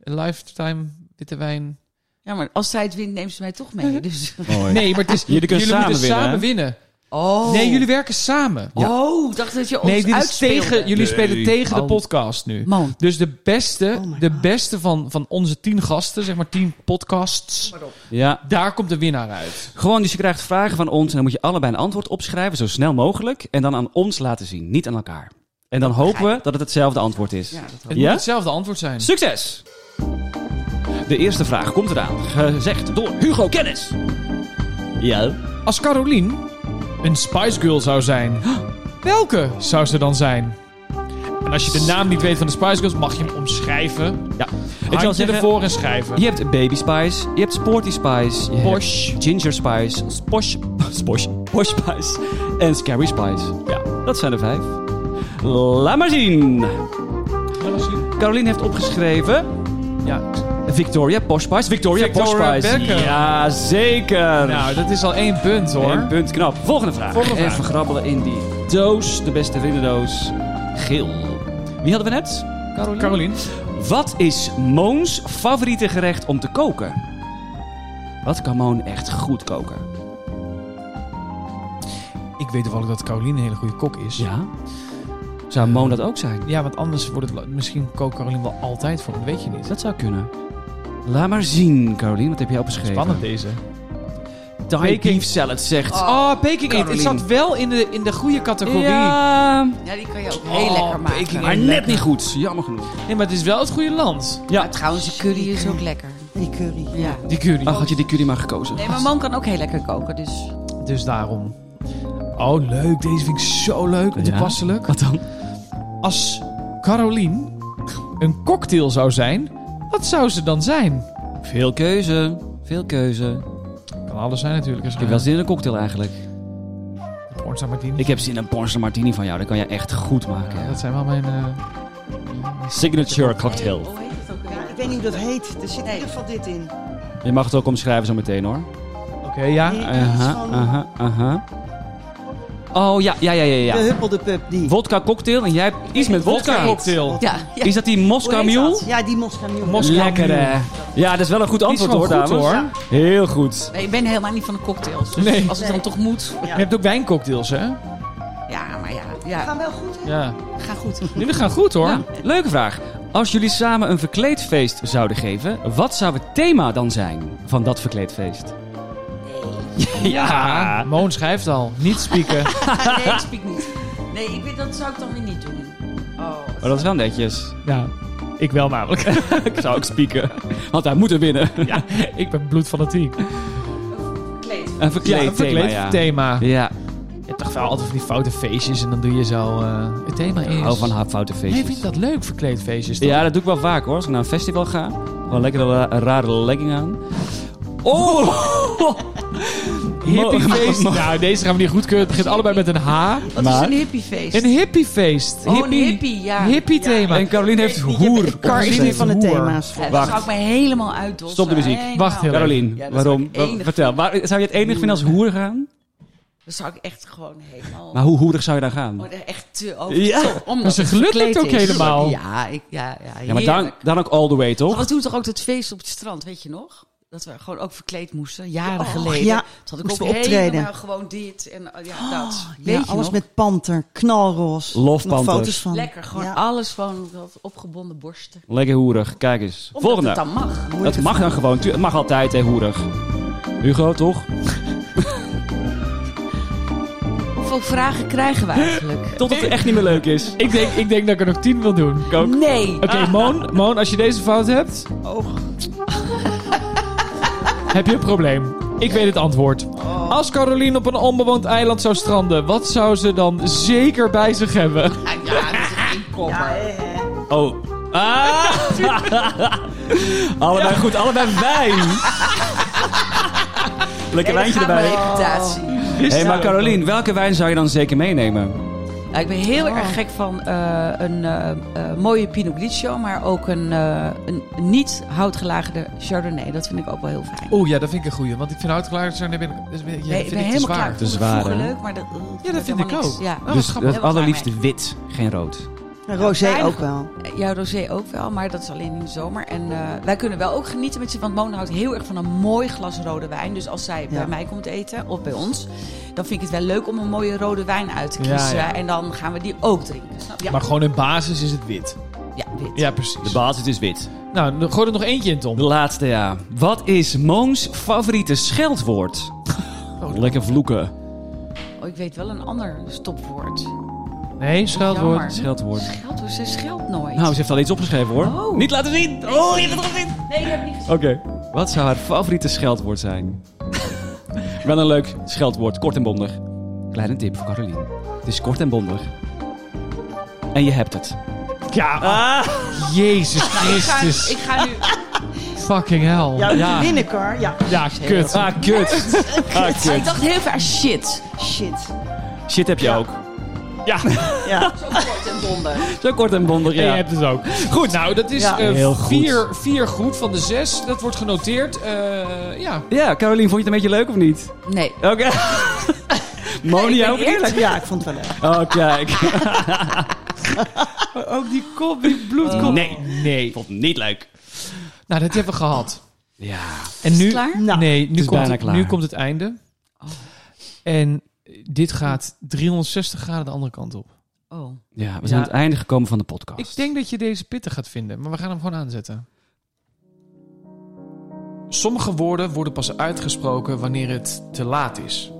Een lifetime witte wijn?
Ja, maar als zij het wint, neemt ze mij toch mee. Dus.
Mooi.
Nee, maar het is...
Jullie kunnen samen
moeten
winnen,
samen
hè?
winnen.
Oh.
Nee, jullie werken samen.
Oh, ik dacht dat je ons
nee, dit is
uitspeelde.
tegen... Jullie spelen tegen de
Oh.
podcast nu.
Man,
Dus de beste,
Oh my
de
God.
beste van, van onze tien gasten, zeg maar tien podcasts,
Ja.
daar komt de winnaar uit.
Gewoon, dus je krijgt vragen van ons en dan moet je allebei een antwoord opschrijven, zo snel mogelijk. En dan aan ons laten zien, niet aan elkaar. En dan hopen we dat het hetzelfde antwoord is.
ja, dat
Het
Ja?
moet hetzelfde antwoord zijn.
Succes! De eerste vraag komt eraan, gezegd door Hugo Kennis. Ja.
Als Caroline een Spice Girl zou zijn, welke zou ze dan zijn? En als je de naam niet weet van de Spice Girls, mag je hem omschrijven.
Ja.
Ik zal ze ervoor en schrijven.
Je hebt Baby Spice, je hebt Sporty Spice, je
Posh.
hebt Ginger Spice, Sposh, Sposh, Posh Spice en Scary Spice. Ja, dat zijn de vijf. Laat maar zien. Caroline heeft opgeschreven
Ja.
Victoria Posh Spice. Victoria,
Victoria
Posh Spice.
Beckham.
Ja, zeker.
Nou, dat is al één punt hoor.
Eén punt knap. Volgende vraag.
Volgende vraag.
Even grabbelen in die doos, de beste vriendendoos. Geel. Wie hadden we net?
Caroline.
Wat is Moons favoriete gerecht om te koken? Wat kan Moon echt goed koken?
Ik weet wel dat Caroline een hele goede kok is.
Ja. Zou Moon dat ook zijn?
Ja, want anders wordt het... Misschien kookt Caroline wel altijd voor, dat weet je niet.
Dat zou kunnen. Laat maar zien, Caroline. Wat heb jij opgeschreven?
Spannend deze.
Thai
Peking.
beef salad zegt...
Oh,
Oh, Peking Eat. Ik
Caroline.
zat wel in de, in de goede categorie.
ja,
Ja, die kan je ook heel
Oh,
lekker maken.
Peking
maar net niet goed. Jammer genoeg.
Nee, maar het is wel het goede land.
Ja.
Maar trouwens, de curry is ook lekker.
Die curry.
Ja.
Die curry.
Ach, Oh, had je die curry maar gekozen.
Nee, mijn man kan ook heel lekker koken, dus...
Dus daarom. Oh, leuk. Deze vind ik zo leuk en
Ja?
toepasselijk.
Wat dan?
Als Caroline een cocktail zou zijn, wat zou ze dan zijn?
Veel keuze. Veel keuze.
Kan alles zijn natuurlijk. Als
Ik heb wel zin in een cocktail eigenlijk.
Pornstar Martini.
Ik heb zin in een Ponce Martini van jou. Dat kan je echt goed maken.
Ja, dat zijn wel mijn... eh,
Signature cocktail.
Hoe heet het ook
Ja, ik
alweer?
weet niet hoe dat heet. Er zit in ieder geval dit in.
Je mag het ook omschrijven zo meteen hoor.
Oké, ja.
Nee, dat is
Aha,
van
aha, aha. Oh ja, ja, ja, ja,
de
ja.
huppelde pup. Die.
Wodka cocktail en jij hebt iets met
Wodka
wodka.
cocktail.
Ja, ja.
Is dat die
Hoe heet
Moskou
dat?
Mule?
Ja, die Moskou Mule.
Mos- Moskou
Lekker hè. Ja, dat is wel een goed
Die is
antwoord
wel
hoor,
goed,
dames.
hoor.
Heel goed.
Nee, ik ben helemaal niet van de cocktails. Dus
Nee.
als het dan toch moet...
Je hebt ook wijncocktails, hè?
Ja, maar ja.
We
Ja,
gaan wel goed, hè?
Ja.
ga goed.
Jullie gaan goed, hoor.
Ja, leuke vraag. Als jullie samen een verkleedfeest zouden geven, wat zou het thema dan zijn van dat verkleedfeest?
Ja, Moon schrijft al. Niet spieken.
nee, ik spiek niet. Nee, ik weet, dat zou ik dan weer niet doen. Oh,
Maar dat is wel netjes.
ja, ik wel namelijk.
Ik zou ook spieken, want wij moeten winnen.
ja, ik ben bloedfanatiek.
kleed.
Eh,
Een verkleed,
ja, een verkleed
thema, ja.
thema.
Ja,
Je hebt toch wel altijd van die foute feestjes en dan doe je zo... eh, het thema is...
hou Oh, van haar foute
Nee,
feestjes.
vind ik dat leuk, verkleed feestjes? toch?
Ja, dat doe ik wel vaak hoor. Als ik naar een festival ga. Gewoon lekker een ra- een rare legging aan. Oh!
Hippiefeest. nou, deze gaan we niet goedkeuren. Het begint allebei met een H.
Wat is
Maar-
een hippiefeest?
Een hippiefeest.
Oh, een hippie, ja.
Hippie thema.
En Caroline heeft hoer.
Kar is niet van de thema's.
Ja, dat
Wacht.
zou ik me helemaal uitdossen.
Stop de muziek.
Helemaal.
Wacht heel even.
Caroline,
Ja, dat is
waarom?
ook enig.
Wa- Vertel, waar, zou je het enig vinden als hoer gaan?
Dan zou ik echt gewoon helemaal...
Maar hoe hoerig zou je dan gaan?
Oh, echt te over.
Ja.
Omdat
Maar ze gelukt het ook helemaal.
Ja, ik, ja, ja,
Ja, maar dan,
heerlijk.
dan ook all the way,
Maar
toch?
we doen toch ook dat feest op het strand, weet je nog? Dat we gewoon ook verkleed moesten, jaren
Och,
geleden.
ja.
Toen had ik
Moesten
ook
we optreden. Oh,
helemaal gewoon dit en eh, ja, dat. Weet
Ja,
je
alles
nog?
met panter, knalroos.
Love
Nog
panthers.
foto's van.
Lekker, gewoon
Ja.
alles van dat opgebonden borsten.
Lekker hoerig, kijk eens.
Omdat het
Volgende.
dan mag.
Dat mag dan gewoon. Tu- Het mag altijd, hè, hoerig. Hugo, toch?
Hoeveel vragen krijgen we eigenlijk?
Tot het echt niet meer leuk is.
Ik denk, ik denk dat ik er nog tien wil doen. Oké,
Nee.
Moon, Moon, als je deze fout hebt,
Oh,
heb je een probleem. Ik weet het antwoord. Als Caroline op een onbewoond eiland zou stranden, wat zou ze dan zeker bij zich hebben?
Oh. Ah! allebei goed, allebei wijn. Lekker wijntje
Daar gaat
erbij.
mijn reputatie.
Hé, hey, maar
nou-
Carolien, welke wijn zou je dan zeker meenemen?
Ja, Nou, ik ben heel erg gek van eh, een eh, eh, mooie Pinot Grigio, maar ook een, eh, een niet houtgelagerde Chardonnay. Dat vind ik ook wel heel fijn.
Oeh, ja, dat vind ik een goeie. Want ik vind houtklaar zijn... Nee, ik ben
Nee, ik ben helemaal
Te
klaar. Ik vond het
zwaar,
vroeger
hè?
leuk, maar dat, eh,
Ja, dat vind ik
helemaal niks.
ook.
Ja.
Oh,
dus
grappig.
dat
Heel klaar
allerliefste wit, geen rood.
Rosé
weinig.
ook wel.
Eh, Jouw rosé ook wel, maar dat is alleen in de zomer. En eh, wij kunnen wel ook genieten met z'n... Want Mona houdt heel erg van een mooi glas rode wijn. Dus als zij bij mij komt eten, of bij ons... dan vind ik het wel leuk om een mooie rode wijn uit te
Ja,
kiezen.
ja.
En dan gaan we die ook drinken. Snap je? Ja,
Maar gewoon in basis is het wit.
ja, wit.
Ja, precies.
De basis is wit.
Nou, dan gooi er nog eentje in, Tom.
De laatste, ja. Wat is Moons favoriete scheldwoord? Lekker vloeken.
Oh, ik weet wel een ander stopwoord.
Nee,
scheldwoord.
scheldwoord.
Jammer.
Scheldwoord.
Geld, hoor, ze scheldt nooit.
Nou, ze heeft al iets opgeschreven hoor.
Oh.
Niet laten zien! Oh, je hebt het gezien!
Nee, dat heb ik niet gezien.
Oké. Wat zou haar favoriete scheldwoord zijn? Wel een leuk scheldwoord, kort en bondig. Kleine tip voor Caroline. Het is kort en bondig. En je hebt het.
Ja, ah. Jezus
Nou, Ik ga,
Christus.
ik ga nu...
Fucking hell. Ja, ja,
Winnen, Cor. Ja,
kut. Ah, kut.
Ah,
Ik dacht heel veel aan shit.
shit.
Shit heb je ook.
Ja.
Zo kort en bondig,
En je
ja.
hebt het ook. Goed, nou, dat is
Ja.
eh,
Heel goed.
Vier, vier goed van de zes. Dat wordt genoteerd. Eh, ja.
Ja, Caroline, vond je het een beetje leuk of niet?
Nee.
Oké. Moni, jij ook niet?
Ja, ik vond het wel leuk.
Oh, kijk.
Ook die kop, die bloedkop.
Nee.
nee.
vond het niet leuk.
Nou, dat hebben we gehad.
Ja.
En nu,
het klaar? Oh.
Nou,
nee, nu,
is
komt
bijna
het,
klaar.
nu komt het einde. En dit gaat 360 graden de andere kant op.
Oh.
Ja, we zijn aan het einde gekomen van de podcast.
Ik denk dat je deze pittig gaat vinden, maar we gaan hem gewoon aanzetten. Sommige woorden worden pas uitgesproken wanneer het te laat is.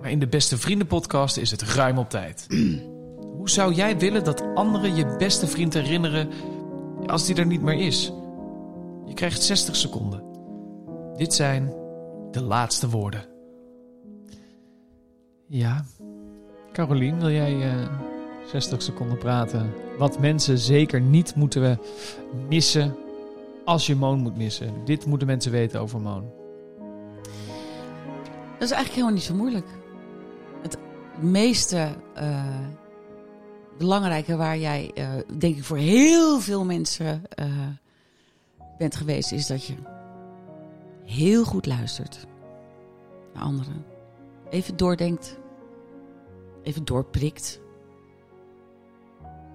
Maar in de Beste Vrienden podcast is het ruim op tijd. Hoe zou jij willen dat anderen je beste vriend herinneren als die er niet meer is? Je krijgt 60 seconden. Dit zijn de laatste woorden. Ja, Carolien, wil jij... eh, 60 seconden praten. Wat mensen zeker niet moeten we missen als je Moon moet missen. Dit moeten mensen weten over Moon.
Dat is eigenlijk helemaal niet zo moeilijk. Het meeste eh, belangrijke waar jij, eh, denk ik, voor heel veel mensen eh, bent geweest, is dat je heel goed luistert naar anderen. Even doordenkt, even doorprikt.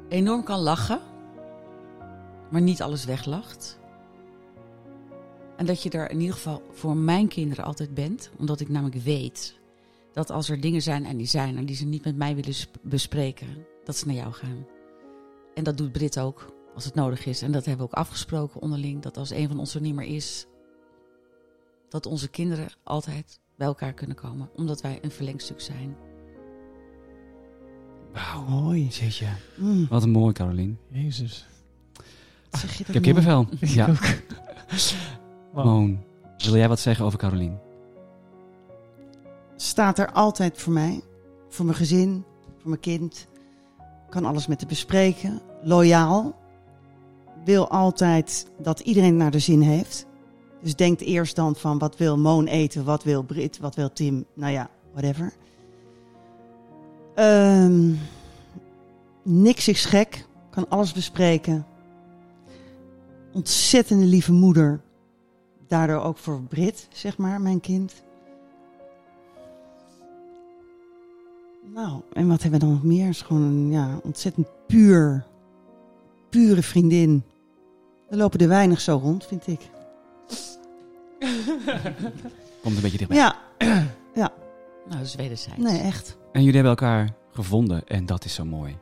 Enorm kan lachen, maar niet alles weglacht. En dat je er in ieder geval voor mijn kinderen altijd bent. Omdat ik namelijk weet dat als er dingen zijn en die zijn en die ze niet met mij willen sp- bespreken, dat ze naar jou gaan. En dat doet Brit ook als het nodig is. En dat hebben we ook afgesproken onderling. Dat als een van ons er niet meer is, dat onze kinderen altijd bij elkaar kunnen komen. Omdat wij een verlengstuk zijn.
Wauw. Mooi. Jeetje.
Mm,
Wat een mooi, Caroline.
Jezus.
zeg je dat
Ik heb
nou?
kippenvel. Ja.
Wow.
Moon, wil jij wat zeggen over Caroline?
staat er altijd voor mij. Voor mijn gezin, voor mijn kind. Kan alles met te bespreken. Loyaal. Wil altijd dat iedereen het naar de zin heeft. Dus denkt eerst dan van wat wil Moon eten, wat wil Brit, wat wil Tim. Nou ja, whatever. Ehm, niks is gek. Kan alles bespreken. Ontzettende lieve moeder. Daardoor ook voor Brit, zeg maar, mijn kind. Nou, en wat hebben we dan nog meer? Is gewoon een ja, ontzettend puur, pure vriendin. Er lopen er weinig zo rond, vind ik.
Komt een beetje
Maar
dichtbij.
ja,
Nou, dat is wederzijds.
nee, echt.
En jullie hebben elkaar gevonden en dat is zo mooi.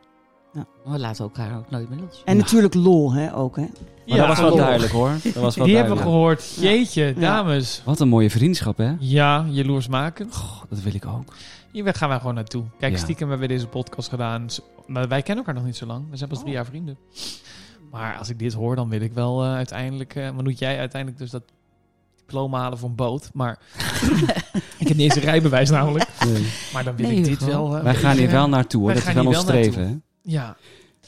We laten elkaar ook nooit meer los.
En natuurlijk lol, hè, ook, hè.
Maar dat was wel duidelijk hoor. Dat was wel
Die hebben we
duidelijk.
gehoord. Jeetje,
Ja.
dames.
Wat een mooie vriendschap hè.
Ja, jaloers maken.
Goh, dat wil ik ook.
Hier we- gaan wij gewoon naartoe. Kijk,
Ja.
stiekem hebben we deze podcast gedaan. Z- Maar wij kennen elkaar nog niet zo lang. We zijn pas
Oh.
drie jaar vrienden. Maar als ik dit hoor, dan wil ik wel eh, uiteindelijk... eh maar moet jij uiteindelijk dus dat diploma halen voor een boot. Maar ik heb niet eens een rijbewijs namelijk. Maar dan wil
Nee,
ik dit
Hugo.
wel... eh,
Wij gaan hier
even-
wel naartoe, hoor.
wij
dat is
gaan
wel ons
hier wel
streven. hè.
Ja.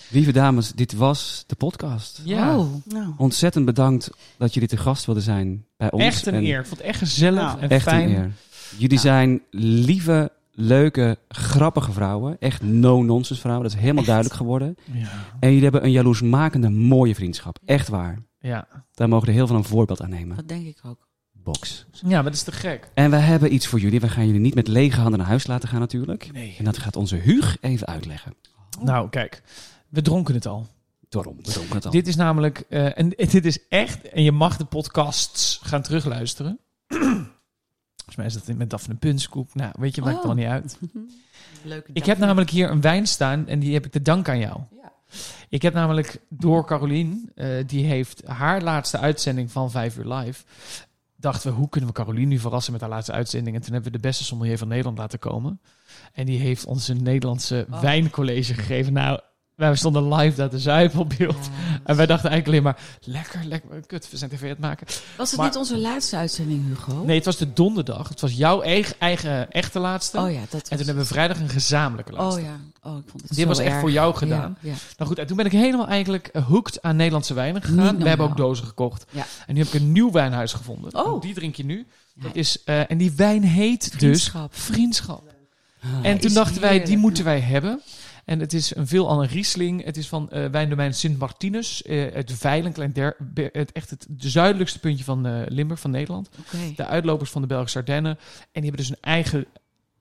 Lieve dames, dit was de podcast.
ja.
Oh.
Nou,
Ontzettend bedankt dat jullie te gast wilden zijn bij ons.
Echt een
En
eer. Ik vond het echt gezellig
Nou,
en
Oh. Echt
fijn. Nou.
een eer. Jullie zijn lieve, leuke, grappige vrouwen. Echt no-nonsense vrouwen. Dat is helemaal duidelijk geworden.
Ja.
En jullie hebben een jaloersmakende mooie vriendschap. Echt waar.
Ja.
Daar mogen we heel veel een voorbeeld aan nemen.
Dat denk ik ook.
Box.
ja, maar dat is te gek.
En we hebben iets voor jullie. We gaan jullie niet met lege handen naar huis laten gaan natuurlijk.
Nee.
En dat gaat onze Huug even uitleggen.
Nou, kijk. We dronken het al.
Daarom, we dronken het al.
Dit is namelijk, eh, en dit is echt, en je mag de podcasts gaan terugluisteren. Volgens mij is dat met Daphne Punskoek. Nou, weet je, maakt het
Oh.
al niet uit.
Leuke
Ik heb namelijk hier een wijn staan en die heb ik te danken aan jou.
Ja.
Ik heb namelijk door Carolien, eh, die heeft haar laatste uitzending van 5 uur live. Dachten we, hoe kunnen we Carolien nu verrassen met haar laatste uitzending? En toen hebben we de beste sommelier van Nederland laten komen. En die heeft ons een Nederlandse
Oh.
wijncollege gegeven. Nou, wij stonden live daar te zuipen op beeld. En wij dachten eigenlijk alleen maar, lekker, lekker, kut, we zijn tv aan het maken.
Was het
Maar-
niet onze laatste uitzending, Hugo?
Nee, het was de donderdag. Het was jouw eigen, eigen echte laatste.
Oh ja, dat was
en toen hebben we vrijdag een gezamenlijke laatste.
Oh ja. Oh, ik vond het
Dit
zo
was echt
erg.
voor jou
Ja,
gedaan.
Ja,
Nou goed, en toen ben ik helemaal eigenlijk eh, hooked aan Nederlandse wijnen
Niet
gegaan. We
normaal.
hebben ook dozen gekocht.
Ja.
En nu heb ik een nieuw wijnhuis gevonden.
Oh.
En Die drink je nu. Dat
Nice.
is, eh, en die wijn heet dus
Vriendschap.
Vriendschap.
Ah.
En toen
is
dachten wij, die
heerlijk.
moeten wij hebben. En het is een veel ander Riesling. Het is van eh, wijndomein Sint Martinus. eh uit Veilen, een klein der, be- het, echt het zuidelijkste puntje van eh, Limburg, van Nederland.
oké.
De uitlopers van de Belgische Ardennen. En die hebben dus een eigen,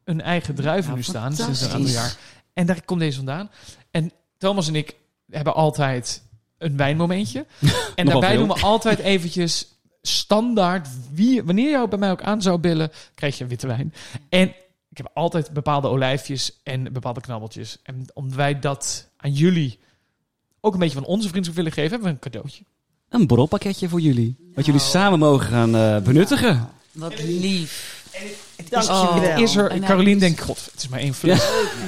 een eigen druiven
Nou,
nu staan sinds een
fantastisch.
aantal jaar. En daar komt deze vandaan. En Thomas en ik hebben altijd een wijnmomentje. en daarbij
veel.
doen we altijd eventjes standaard. Wie, wanneer jou bij mij ook aan zou bellen, krijg je een witte wijn. En ik heb altijd bepaalde olijfjes en bepaalde knabbeltjes. En omdat wij dat aan jullie ook een beetje van onze vriendschap willen geven, hebben we een cadeautje.
Een borrelpakketje voor jullie. Wat jullie
Nou.
samen mogen gaan eh, benuttigen.
Wat lief.
dank je
Oh.
wel.
Is er,
En hij
Carolien
is-
denkt, god, het is maar één fles.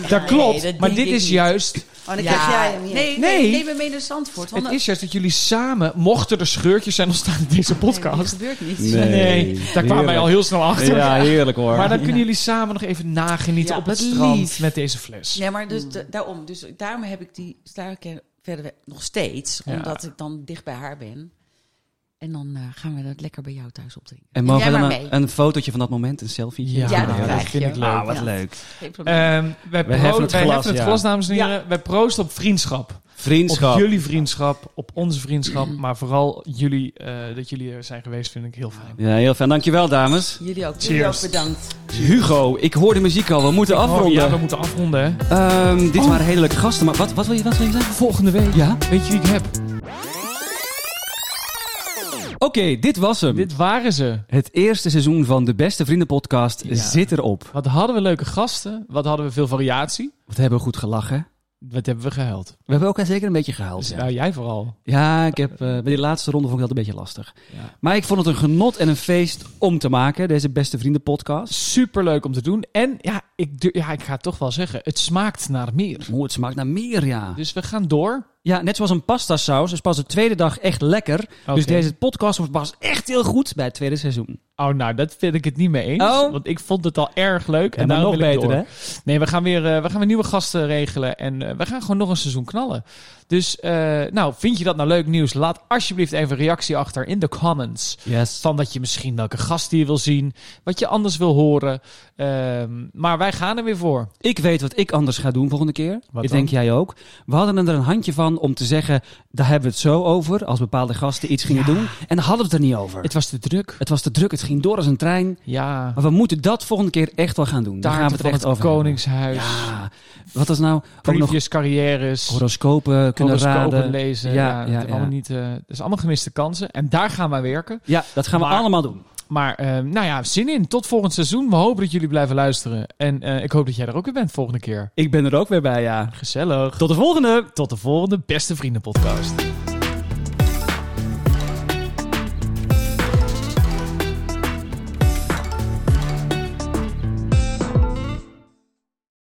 Dat klopt,
dat
maar
denk
dit
ik
is
niet.
juist
Oh, dan krijg jij hem hier.
Nee,
Nee.
nee, neem hem mee naar Zandvoort. Want
Het is juist dat jullie samen, mochten er scheurtjes zijn ontstaan in deze
Nee, dat
podcast.
gebeurt niet.
Nee.
daar kwamen wij al heel snel achter.
Ja, heerlijk hoor.
Maar dan kunnen jullie samen nog even nagenieten
Ja,
op het
wat
strand
lief.
met deze fles.
Ja, maar dus da- daarom. Dus daarom heb ik die staarken verder we- nog steeds.
Ja.
Omdat ik dan dicht bij haar ben. En dan eh, gaan we dat lekker bij jou thuis opdrinken.
En mogen we
Jij
dan
maar
een,
mee.
een fotootje van dat moment, een selfie?
Ja,
Ja,
dat
krijg
vind
je.
ik leuk.
Ah, wat
Ja.
leuk.
Geen probleem.
Ehm, wij pro-
heffen het
wij
glas,
heffen het
ja.
glas, dames en heren. Wij proosten op vriendschap.
Vriendschap.
Op jullie vriendschap, op onze vriendschap. Maar vooral jullie, eh, dat jullie er zijn geweest, vind ik heel fijn.
Ja, heel fijn. Dankjewel, dames.
Jullie ook.
Cheers.
Jullie ook bedankt.
Hugo, ik hoor de muziek al. We moeten
Oh, ja, Oh.
afronden.
we moeten afronden. hè.
Ehm, dit waren hele leuke gasten. Maar wat, wat, wil, je, wat wil je zeggen?
Volgende week,
Ja?
weet je wie ik heb?
Oké, dit was hem.
Dit waren ze.
Het eerste seizoen van de Beste Vrienden podcast
Ja.
zit erop.
Wat hadden we leuke gasten? Wat hadden we veel variatie?
Wat hebben we goed gelachen.
Wat hebben we gehuild?
We hebben ook zeker een beetje gehuild. Ja,
Nou, jij vooral.
Ja, ik heb, eh, bij die laatste ronde vond ik dat een beetje lastig.
Ja.
Maar ik vond het een genot en een feest om te maken, deze Beste Vrienden podcast.
Super leuk om te doen. En ja ik, dur- ja, ik ga het toch wel zeggen. Het smaakt naar meer.
Oeh, het smaakt naar meer, ja.
Dus we gaan door.
Ja, net zoals een pasta saus is pas de tweede dag echt lekker. Dus deze podcast wordt pas echt heel goed bij het tweede seizoen.
Oh, nou, dat vind ik het niet mee eens.
Oh.
Want ik vond het al erg leuk.
En dan
daarom
nog
wil ik
beter,
door.
hè?
Nee, we gaan weer, eh, we gaan weer nieuwe gasten regelen. En eh, we gaan gewoon nog een seizoen knallen. Dus, eh, nou, vind je dat nou leuk nieuws? Laat alsjeblieft even een reactie achter in de comments.
Yes.
Van wat je misschien welke gast die je wil zien. Wat je anders wil horen. Ehm, maar wij gaan er weer voor.
Ik weet wat ik anders ga doen volgende keer.
Wat
ik
dan?
denk jij ook. We hadden er een handje van om te zeggen, daar hebben we het zo over. Als bepaalde gasten iets gingen doen. En dan hadden we het er niet over.
Het
Het,
was te druk.
was te druk, het ging door als een trein.
Ja.
Maar we moeten dat volgende keer echt wel gaan doen. Daar gaan we
Taarten
het
van
echt
het
over
Koningshuis.
hebben. Ja, wat is nou? Ook nog
Previous carrières.
horoscopen kunnen
horoscopen
raden.
lezen.
Ja,
Ja,
ja,
dat, is
ja.
Allemaal niet, eh, dat is allemaal gemiste kansen. En daar gaan wij werken.
Ja, dat gaan we
Maar-
allemaal doen.
Maar eh, nou ja, zin in. Tot volgend seizoen. We hopen dat jullie blijven luisteren. En eh, ik hoop dat jij er ook weer bent volgende keer.
Ik ben er ook weer bij, ja.
Gezellig.
Tot de volgende!
Tot de volgende Beste Vrienden podcast.